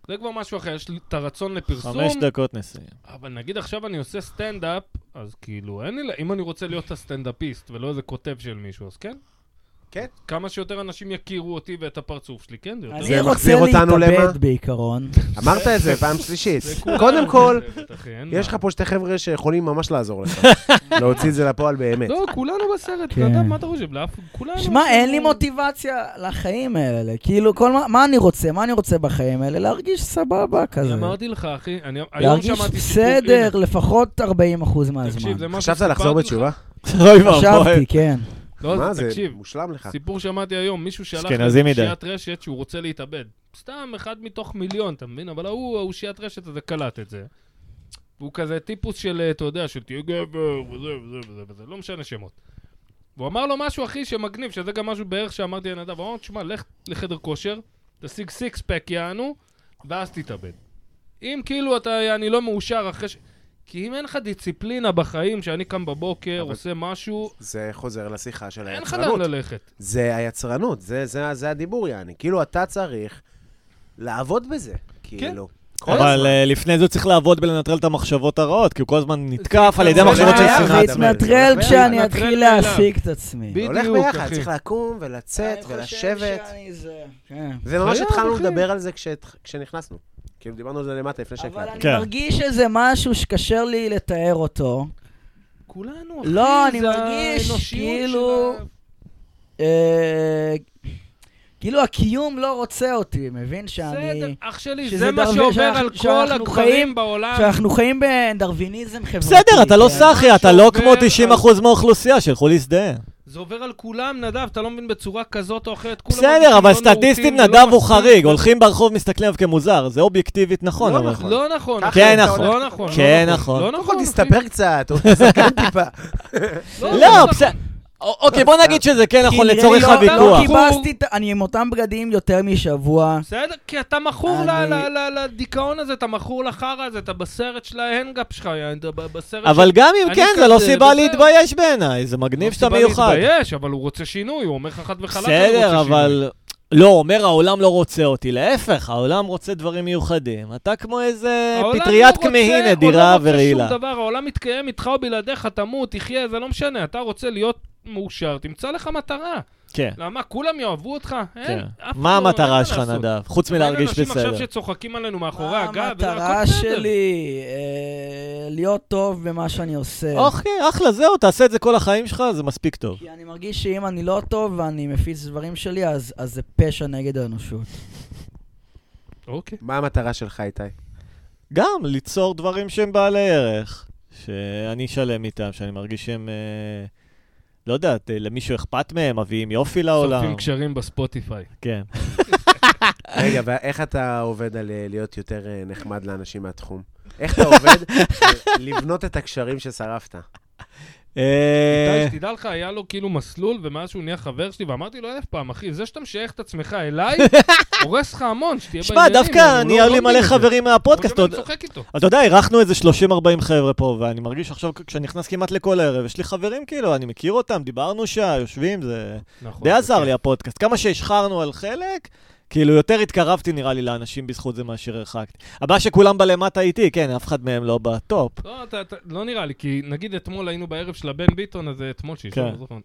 זה כבר משהו אחר, יש לי את הרצון לפרסום,
חמש דקות נסיים.
אבל נגיד עכשיו אני עושה סטנדאפ, אז כאילו, אין לי, לה- אם אני רוצה להיות הסטנדאפיסט ולא איזה כותב של מישהו, אז כן.
כן.
כמה שיותר אנשים יכירו אותי ואת הפרצוף שלי, כן, זה יותר...
אני
מחזיר
רוצה
אותנו למה?
להתאבד בעיקרון.
לא,
אמרת את זה פעם שלישית.
זה כולם
קודם כל,
בסרט, אחי, אין
יש
מה.
לך פה שתי חבר'ה שיכולים ממש לעזור לך. להוציא את זה לפועל באמת.
לא, כולנו בסרט,
כן.
נדב, מה אתה חושב? לאף... כולנו...
שמע, אין לי מוטיבציה לחיים האלה. כאילו, כל מה, מה אני רוצה? מה אני רוצה בחיים האלה? להרגיש סבבה
אני
כזה.
אמרתי לך, אחי, אני... היום
להרגיש
שמעתי סיפור...
בסדר,
הנה,
לפחות 40% מהזמן.
תקשיב, זה מה
חשבת
שסיפרתי
לחזור
לך.
בתשובה?
אוי ואבוי.
חשבתי, כן.
לא,
מה
אז
זה?
תקשיב,
מושלם לך.
סיפור שמעתי היום, מישהו שלח
אשכנזי מדי.
לאושיית רשת שהוא רוצה להתאבד. סתם אחד מתוך מיליון, אתה מבין? אבל ההוא, האושיית רשת הזה קלט את זה. הוא כזה טיפוס של, אה, אתה יודע, של תהיה גבר, וזה וזה וזה וזה, לא משנה שמות. והוא אמר לו משהו, אחי, שמגניב, שזה גם משהו בערך שאמרתי לנדב. הוא אמר, לו, תשמע, לך לחדר כושר, תשיג סיקס פק יענו, ואז תתאבד. אם כאילו אתה, אני לא מאושר אחרי ש... כי אם אין לך דיציפלינה בחיים, שאני קם בבוקר,
אבל-
עושה משהו,
זה חוזר לשיחה של
אין לך לאן
היצרנות.
ללכת.
זה היצרנות, זה- זה זה הדיבור, יעני. כאילו, אתה צריך לעבוד בזה.
כן.
כאילו. כל
אבל
הזמן.
אה, לפני זה הוא צריך לעבוד בלנטרל את המחשבות הרעות, כי הוא כל הזמן נתקף על ידי
זה
מחשבות של
בעיה,
שנאה.
זה
זה
עצמית.
יתנטרל כשאני
יתנטרל
אתחיל
מאליו.
להעסיק את עצמי.
בדיוק,
זה הולך ביחד,
אחי.
צריך לקום ולצאת ולשבת.
כן.
וממש
חייב,
התחלנו
אחי.
לדבר על זה כשהת- כשנכנסנו. כאילו, דיברנו על זה למטה לפני
אבל
שהקלטנו.
אני
כן.
מרגיש איזה משהו שקשה לי לתאר אותו.
כולנו, אחי,
לא, אני
זה
מרגיש
האנושיות
כאילו-
של ה-
אה, כאילו הקיום לא רוצה אותי, מבין?
בסדר,
שאני...
אח שלי,
שזה
זה מה
דבר
שעובר
שאנחנו-
על כל
שאנחנו
הגברים
חיים-
בעולם.
שאנחנו חיים בדרוויניזם חברתי.
בסדר, אתה לא
כן.
סאחי, אתה לא
שובר
כמו
על-
90% מהאוכלוסייה שילכו להזדהן.
זה עובר על כולם, נדב, אתה לא מבין בצורה כזאת או אחרת. כולם מרגישים
בסדר, אבל
לא
סטטיסטית
נאותים, זה לא
נדב הוא
מספיק.
חריג, הולכים ברחוב, מסתכלים עליו כמוזר, זה אובייקטיבית נכון. אבל-
לא נכון.
ככה
אחי,
כן,
אתה
נכון.
לא נכון. לא
כן, נכון.
לא
קודם כל
נכון, אחי.
תסתפר קצת, או תסתכל טיפה.
לא, בסדר. אוקיי, בוא נגיד שזה כן נכון
כי נראה
לצורך
לי לא-
הוויכוח.
לא כיבסתי, את- אני עם אותם בגדים יותר משבוע.
בסדר, כי אתה מכור ל-
אני-
ל- ל- לדיכאון הזה, אתה מכור לחרא הזה, אתה בסרט של ההנגאפ שלך, יא, אתה ב- בסרט
אבל
של...
גם אם
אני
כן, זה לא
כזה,
סיבה
בסדר.
להתבייש בעיניי, זה מגניב שאתה מיוחד.
להתבייש, אבל הוא רוצה שינוי, הוא אומר לך חד וחלק, אני רוצה
בסדר,
שינוי.
אבל... לא, אומר העולם לא רוצה אותי, להפך, העולם רוצה דברים מיוחדים. אתה כמו איזה
העולם
פטריית
לא רוצה-
כמהין
העולם
נדירה
לא רוצה
ורעילה.
שום דבר, העולם מתקיים איתך או בלעדיך, תמות, תחיה, זה לא משנה. אתה רוצה להיות מאושר, תמצא לך מטרה.
כן,
למה, כולם יאהבו אותך? אין,
כן.
אף אחד לא-
מה
אין
המטרה
מה
שלך,
לעשות.
נדב? חוץ מלהרגיש
אין אנשים
בסדר.
עכשיו שצוחקים עלינו מאחורי
מה
הגב, וזה
המטרה
הכל בסדר.
שלי? אה, להיות טוב במה שאני עושה.
אוקיי, אחלה, זהו, תעשה את זה כל החיים שלך, זה מספיק טוב.
כי אני מרגיש שאם אני לא טוב ואני מפיץ דברים שלי, אז אז זה פשע נגד האנושות.
אוקיי.
מה המטרה שלך, איתי?
גם ליצור דברים שהם בעלי ערך, שאני שלם איתם, שאני מרגיש שהם אה, לא יודעת, אה, למישהו אכפת מהם, מביאים יופי לעולם.
שורפים קשרים בספוטיפיי.
כן.
רגע, ואיך אתה עובד על אה, להיות יותר אה, נחמד לאנשים מהתחום? איך אתה עובד על לבנות את הקשרים ששרפת?
אה,
איתי, שתדע לך, היה לו כאילו מסלול, ומאז שהוא נהיה חבר שלי, ואמרתי לו אלף פעם, אחי, זה שאתה משייך את עצמך אליי, הורס לך המון, שתהיה
שמע,
בעניינים.
דווקא
אני לא-
נהיה
לא
לי
מבין
מלא
את זה.
חברים מהפודקאסט.
הוא גם
אתה-
אני צוחק איתו.
אתה יודע, אירחנו איזה 30-40 חבר'ה פה, ואני מרגיש עכשיו, כשאני נכנס כמעט לכל ערב, יש לי חברים כאילו, אני מכיר אותם, דיברנו שעה, יושבים, זה...
נכון.
די עזר
אוקיי.
כן.
לי הפודקאסט. כמה שהשחרנו על חלק, כאילו, יותר התקרבתי נראה לי לאנשים בזכות זה מאשר הרחקתי. הבעיה שכולם בלמטה איתי, כן, אף אחד מהם לא בטופ.
כן.
לא, אתה, אתה, לא נראה לי, כי נגיד אתמול היינו בערב של הבן ביטון, אז זה אתמול שישון,
כן.
לא זוכר.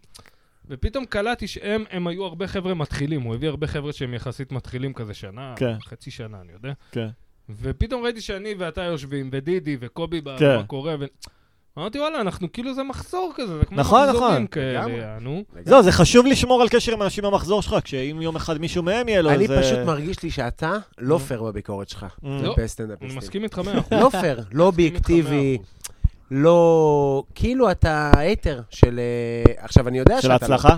ופתאום קלטתי שהם הם היו הרבה חבר'ה מתחילים, הוא הביא הרבה חבר'ה שהם יחסית מתחילים כזה שנה,
כן.
חצי שנה, אני יודע.
כן.
ופתאום ראיתי שאני ואתה יושבים, ודידי וקובי, ב-
כן.
מה קורה, ו... אמרתי, וואלה, אנחנו כאילו זה מחסור כזה, זה כמו
נכון, נכון.
מחזורים כאלה,
לגמרי.
יענו.
זהו, זה חשוב לשמור על קשר עם אנשים במחזור שלך, כשאם יום אחד מישהו מהם יהיה לו
אני
איזה...
פשוט מרגיש לי שאתה לא פייר בביקורת שלך.
Mm.
לא,
כלפי סטנדאפיסטים.
אני מסכים איתך מאה אחוז.
לא פייר, לא
מסכים איתך מאה
אובייקטיבי,
אחוז.
לא... כאילו אתה הייטר של... אה, עכשיו, אני יודע
של
שאתה... לא-
ההצלחה?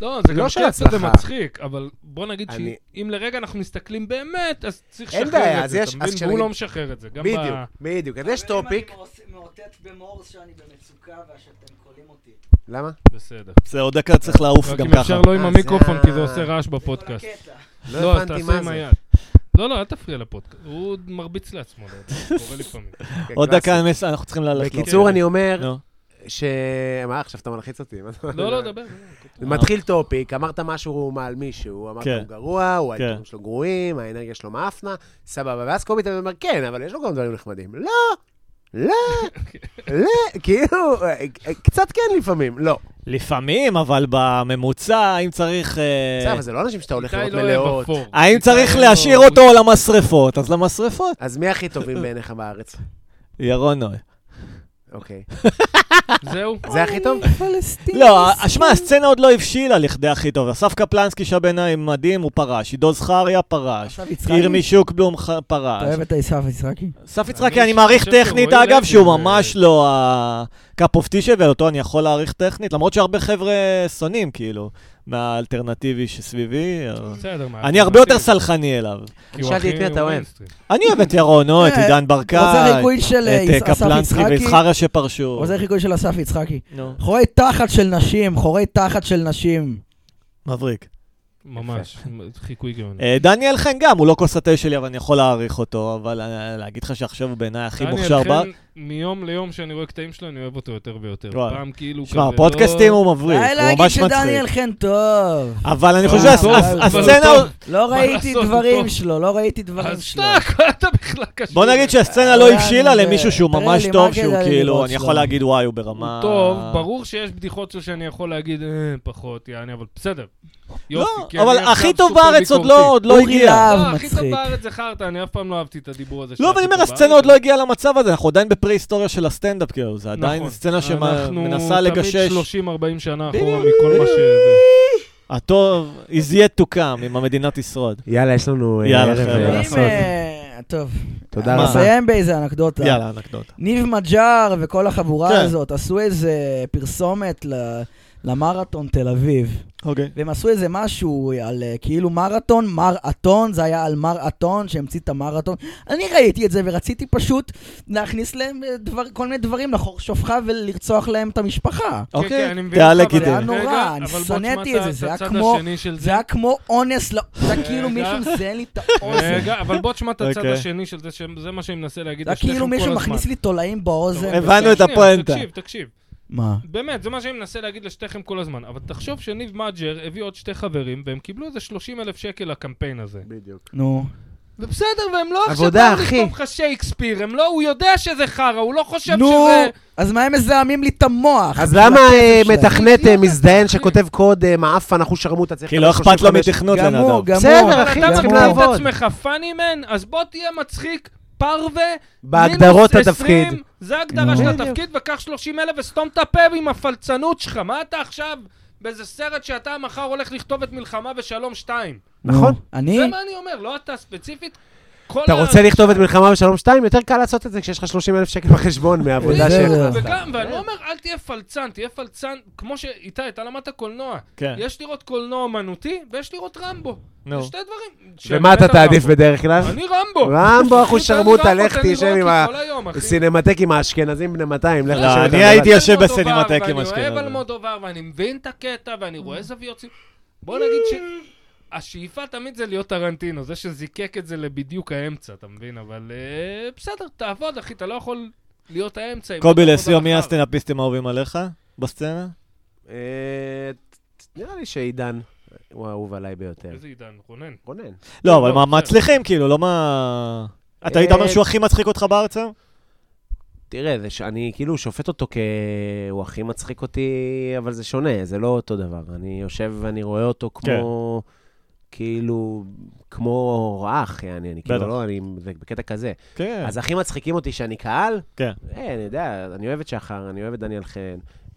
לא, זה
לא
גם
של
קטע, זה
הצלחה.
מצחיק, אבל בוא נגיד
אני-
שאם לרגע אנחנו מסתכלים באמת, אז צריך
אין
לשחרר את זה,
בעיה, אז יש- אז
אתה מבין? והוא
כשנגיד-
לא משחרר את זה. גם ב- לא,
בדיוק, בדיוק. אז יש טופיק.
אני מאותת במורס שאני במצוקה ושאתם קולים אותי.
למה?
בסדר.
זה עוד דקה צריך לעוף
רק
גם
אם
ככה.
אפשר לא עם
אה,
המיקרופון,
זה
כי זה
ה-
עושה רעש בפודקאסט.
לא
אז
הבנתי
תעשה
מה
עם
זה.
היד. לא, לא, אל תפריע לפודקאסט. הוא מרביץ לעצמו, לא יודע, זה קורה לפעמים.
כן,
עוד
קלאסי.
דקה מס- אנחנו צריכים ללכת. לו.
בקיצור,
כן.
אני אומר
נו.
ש... מה, עכשיו אתה מלחיץ אותי? מה אתה-
לא, לא, דבר.
מתחיל טופיק, אמרת משהו על מישהו, אמרת
כן.
הוא גרוע, הוא
כן.
האיתורים שלו גרועים, האנרגיה שלו מאפנה, סבבה. ואז קובי תמיד אומר, כן, אבל יש לו גם דברים נחמדים. לא, לא, לא, כאילו, אה, אה, קצת כן לפעמים, לא.
אה, לפעמים, אבל בממוצע, אם צריך... אה,
בסדר, אבל זה לא אנשים שאתה הולך לראות
איתי לא אוהב
מלאות.
אפור.
האם
איתי
צריך
לא-
להשאיר אותו למשרפות? אז למשרפות.
אז מי הכי טובים בעיניך בארץ?
ירון נוי.
אוקיי.
זהו.
זה הכי טוב?
פלסטין.
לא, שמע, הסצנה עוד לא הבשילה לכדי הכי טוב. אסף קפלנסקי שהביניים מדהים, הוא פרש. עידו זכריה פרש.
אסף יצחקי?
ירמי שוקבלום ח-
אתה
פרש.
אוהב את אסף יצחקי?
אסף
אני
יצחקי, אני מעריך
חושב
טכנית,
שרועי
אגב,
לוי
שהוא
זה-
ממש לא הקאפ אוף טישב, ואותו אני יכול להעריך טכנית, למרות שהרבה חבר'ה שונאים, כאילו, מהאלטרנטיבי שסביבי. אבל-
בסדר, מה?
אני הרבה יותר סלחני אליו.
כי הוא
שאלתי
הכי-
את מי אתה
הוא
אוהב.
mainstream.
אני אוהב את ירון, נו, את
אה,
עידן ברקאי,
רוצה חיקוי של אה,
את אה,
אסף
קפלנסקי
יצחקי?
ויזכרה שפרשו.
רוצה חיקוי של אסף יצחקי?
נו,
חורי תחת של נשים, חורי תחת של נשים.
מבריק.
ממש, חיקוי גאוני.
אה, דניאל חן גם, הוא לא כוס התה שלי, אבל אני יכול להעריך אותו, אבל אה, להגיד לך שעכשיו הוא בעיניי הכי
דניאל
מוכשר
חן,
ב...
מיום ליום שאני רואה קטעים שלו, אני אוהב אותו יותר ויותר.
וואלה.
פעם כאילו כזה...
שמע,
לא-
הפודקאסטים הוא מבריק,
די
הוא
להגיד
ממש
שדניאל
מצחיק.
חן טוב.
אבל אני חושב
אה,
שהס-
אבל-
הסצנה...
אבל-
לא
מה
ראיתי
לעשות, הוא
דברים
טוב.
שלו, לא ראיתי דברים
אז
שלו.
שתק, אתה בכלל קשור.
בוא נגיד שהסצנה לא
אבל
הבשילה
זה-
למישהו שהוא
תראה
ממש
לי, לא.
טוב,
מה כדאי
שהוא
לי
כאילו,
לראות
אני
שלו?
יכול להגיד וואי, הוא
הוא
ברמה...
טוב, ברור שיש בדיחות שלו שאני יכול להגיד, אה, פחות, יעני, אבל בסדר.
לא,
יופי, כי
אבל
אני עכשיו
הכי טוב
סופר
בארץ עוד
ביקורתי.
לא- עוד לא
אורי
הגיע.
להב.
לא,
אה,
הכי טוב
מצחיק.
בארץ זה חרטא, אני אף פעם לא אהבתי את הדיבור הזה.
לא, אבל אני אומר, הסצנה עוד לא הגיעה למצב הזה, אנחנו עדיין בפרה-היסטוריה של הסטנדאפ, כאילו, זה עדיין סצנה שמנסה
נכון. אנחנו
לגשש.
תמיד 30-40 שנה אחורה מכל מה ש...
הטוב is yet to come, אם המדינה תשרוד.
יאללה, יש לנו אה,
יאללה,
ערב
חבר'ה.
אה,
יאללה,
אם,
לעשות.
אה, טוב,
תודה
מה?
רבה.
נסיים באיזה אנקדוטה.
יאללה, אנקדוטה.
ניב מג'אר וכל החבורה
כן.
הזאת עשו איזה פרסומת ל- למרתון תל אביב.
אוקיי.
והם עשו איזה משהו על אה, כאילו מרתון, מרתון, זה היה על מרתון שהמציא את המרתון. אני ראיתי את זה ורציתי פשוט להכניס להם אה, דבר, כל מיני דברים לחור שופחה ולרצוח להם את המשפחה.
כן,
אוקיי, דעה
זה היה
לגיטימית.
נורא, אני שנאתי את זה, זה היה כמו- זה היה כמו אונס, לא, זה היה כאילו
רגע.
מישהו מזיין לי את האוזן.
רגע, אבל בוא תשמע את הצד
אוקיי.
השני של זה, שזה מה שאני מנסה להגיד
זה היה
לשניכם
כאילו
כל
מישהו
הזמן. אוקיי,
מכניס לי תולעים באוזן.
הבנתי. הבנו את
שנייה,
הפואנטה.
תקשיב, תקשיב.
מה?
באמת, זה מה שאני מנסה להגיד לשתיכם כל הזמן. אבל תחשוב שניב מאג'ר הביא עוד שתי חברים, והם קיבלו איזה 30 אלף שקל לקמפיין הזה.
בדיוק.
נו.
ובסדר, והם לא עכשיו
עבודה,
באו
אחי.
לכתוב לך שייקספיר, הם לא, הוא יודע שזה חרא, הוא לא חושב
נו,
שזה...
אז מה הם מזהמים לי את המוח?
אז למה אה,
שלהם.
מתכנת אה, מזדיין שכותב קוד אה, מעפן, אחוז שרמוטה, צריך...
כי לא
לקבל
אכפת לו
35?
מתכנות
גמור,
לנדב.
גמור.
בסדר,
אבל
אחי,
אתה
צריכים
מגדיר את
לעבוד.
עצמך פאני מן, אז בוא תהיה מצחיק, פרווה,
בהגדרות
מינוס
התפקיד.
20, זה ההגדרה
נו.
של
בדיוק.
התפקיד, וקח 30 אלף וסתום את הפה עם הפלצנות שלך. מה אתה עכשיו באיזה סרט שאתה מחר הולך לכתוב את מלחמה ושלום 2?
נו,
נכון.
אני?
זה מה אני אומר, לא אתה ספציפית. כל
אתה
ה-
רוצה לכתוב את מלחמה ושלום 2? יותר קל לעשות את זה כשיש לך 30 אלף שקל בחשבון מהעבודה
בסדר.
שלך.
וגם, ואני לא אומר, אל תהיה פלצן, תהיה פלצן, כמו שאיתי, אתה למדת קולנוע.
כן,
יש לראות קולנוע אומנותי, ויש לראות רמבו.
נו.
זה שתי דברים.
ומה אתה
שבאמת
תעדיף
הרמבו.
בדרך כלל?
אני רמבו.
רמבו, אחו
אני
שרמוטה,
רמבו,
לך
תן לי
תשב
רוקי
עם ה-
כל היום, אחי.
סינמטקים האשכנזים בני 200, לך
לא,
תשב
אני
איתם
הייתי-
לבד.
יושב
אלמודובר,
בסינמטק עם
ואני
אשכנזי.
אוהב אלמודובר, ואני מבין את הקטע, ואני
Mm.
רואה זוויות... סי- בוא נגיד ש... השאיפה תמיד זה להיות טרנטינו, זה שזיקק את זה לבדיוק האמצע, אתה מבין? אבל אה, בסדר, תעבוד, אחי, אתה לא יכול להיות האמצע. אם
קובי
אתה עובד
לסיום, מי
על
הסטנאפיסטים האהובים עליך בסצנה?
אה, נראה לי שעידן הוא האהוב עליי
אחר.
ביותר.
איזה עידן, רונן.
רונן.
לא, אבל
לא,
מה
בסדר.
מצליחים, כאילו, לא מה... אתה
אה,
היית אומר שהוא הכי מצחיק אותך בארץ היום?
תראה, זה ש- אני כאילו שופט אותו כ... הוא הכי מצחיק אותי, אבל זה שונה, זה לא אותו דבר. אני יושב ואני רואה אותו
כן.
כמו... כאילו, כמו הוראה, אחי, אני, אני
בטח.
כאילו לא, אני זה בקטע כזה.
כן.
אז הכי מצחיקים אותי שאני קהל?
כן.
אה, אני יודע, אני אוהב את שחר, אני אוהב את דניאל חן.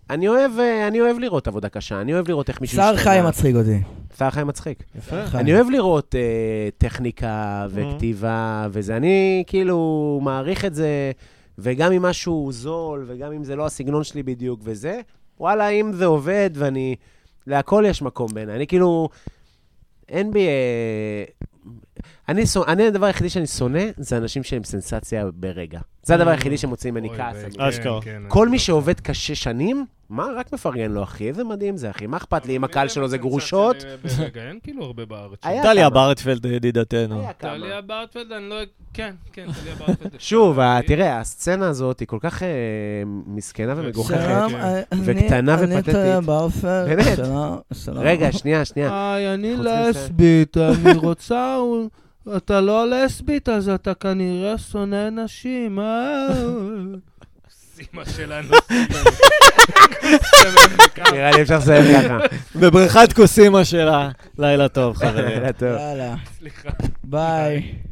אני אוהב, אה, אני אוהב לראות עבודה קשה, אני אוהב לראות איך מישהו
סער חיים מצחיק אותי.
צער חיים מצחיק.
יפה.
חיים.
אני אוהב לראות אה, טכניקה
Mhm.
וכתיבה וזה. אני כאילו מעריך את זה, וגם אם משהו זול, וגם אם זה לא הסגנון שלי בדיוק וזה, וואלה, אם זה עובד ואני... להכל יש מקום בעיניי. אני כאילו... אין בי... אה, אני, שונא- אני, הדבר היחידי שאני שונא, זה אנשים שהם סנסציה ברגע. זה הדבר היחידי שמוציא ממני
אוי,
כעס.
ו-
אני-
כן,
אשכרה.
כן,
כל
אני
מי
לא-
שעובד קשה שנים, מה, רק מפרגן לו, אחי, איזה מדהים זה, אחי. מה אכפת לי אם
אבל
הקהל
מי
שלו זה
באמת
גרושות?
סנסציה ברגע, אין כאילו הרבה בארץ.
היה
טליה
כמה.
ברטפלד, ידידתנו.
היה כמה.
טליה ברטפלד, אני לא... כן, כן, טליה ברטפלד.
שוב, אה, ה-
אני-
תראה, הסצנה הזאת היא כל כך אה, מסכנה ומגוחכת.
שלום, אה, אני-
כן. וקטנה
אני
ופתטית.
טליה באופר.
באמת.
שלום, שלום.
רגע, שנייה, שנייה.
היי, אני
חוץ מזה-
לסבית, אני רוצה... אתה לא לסבית, אז אתה כנראה שונא נשים, אה?
סימה שלנו. סימה.
נראה לי אפשר לסיים ככה.
בבריכת כוסימה שלה, לילה טוב, חברים.
לילה טוב.
יאללה,
סליחה.
ביי.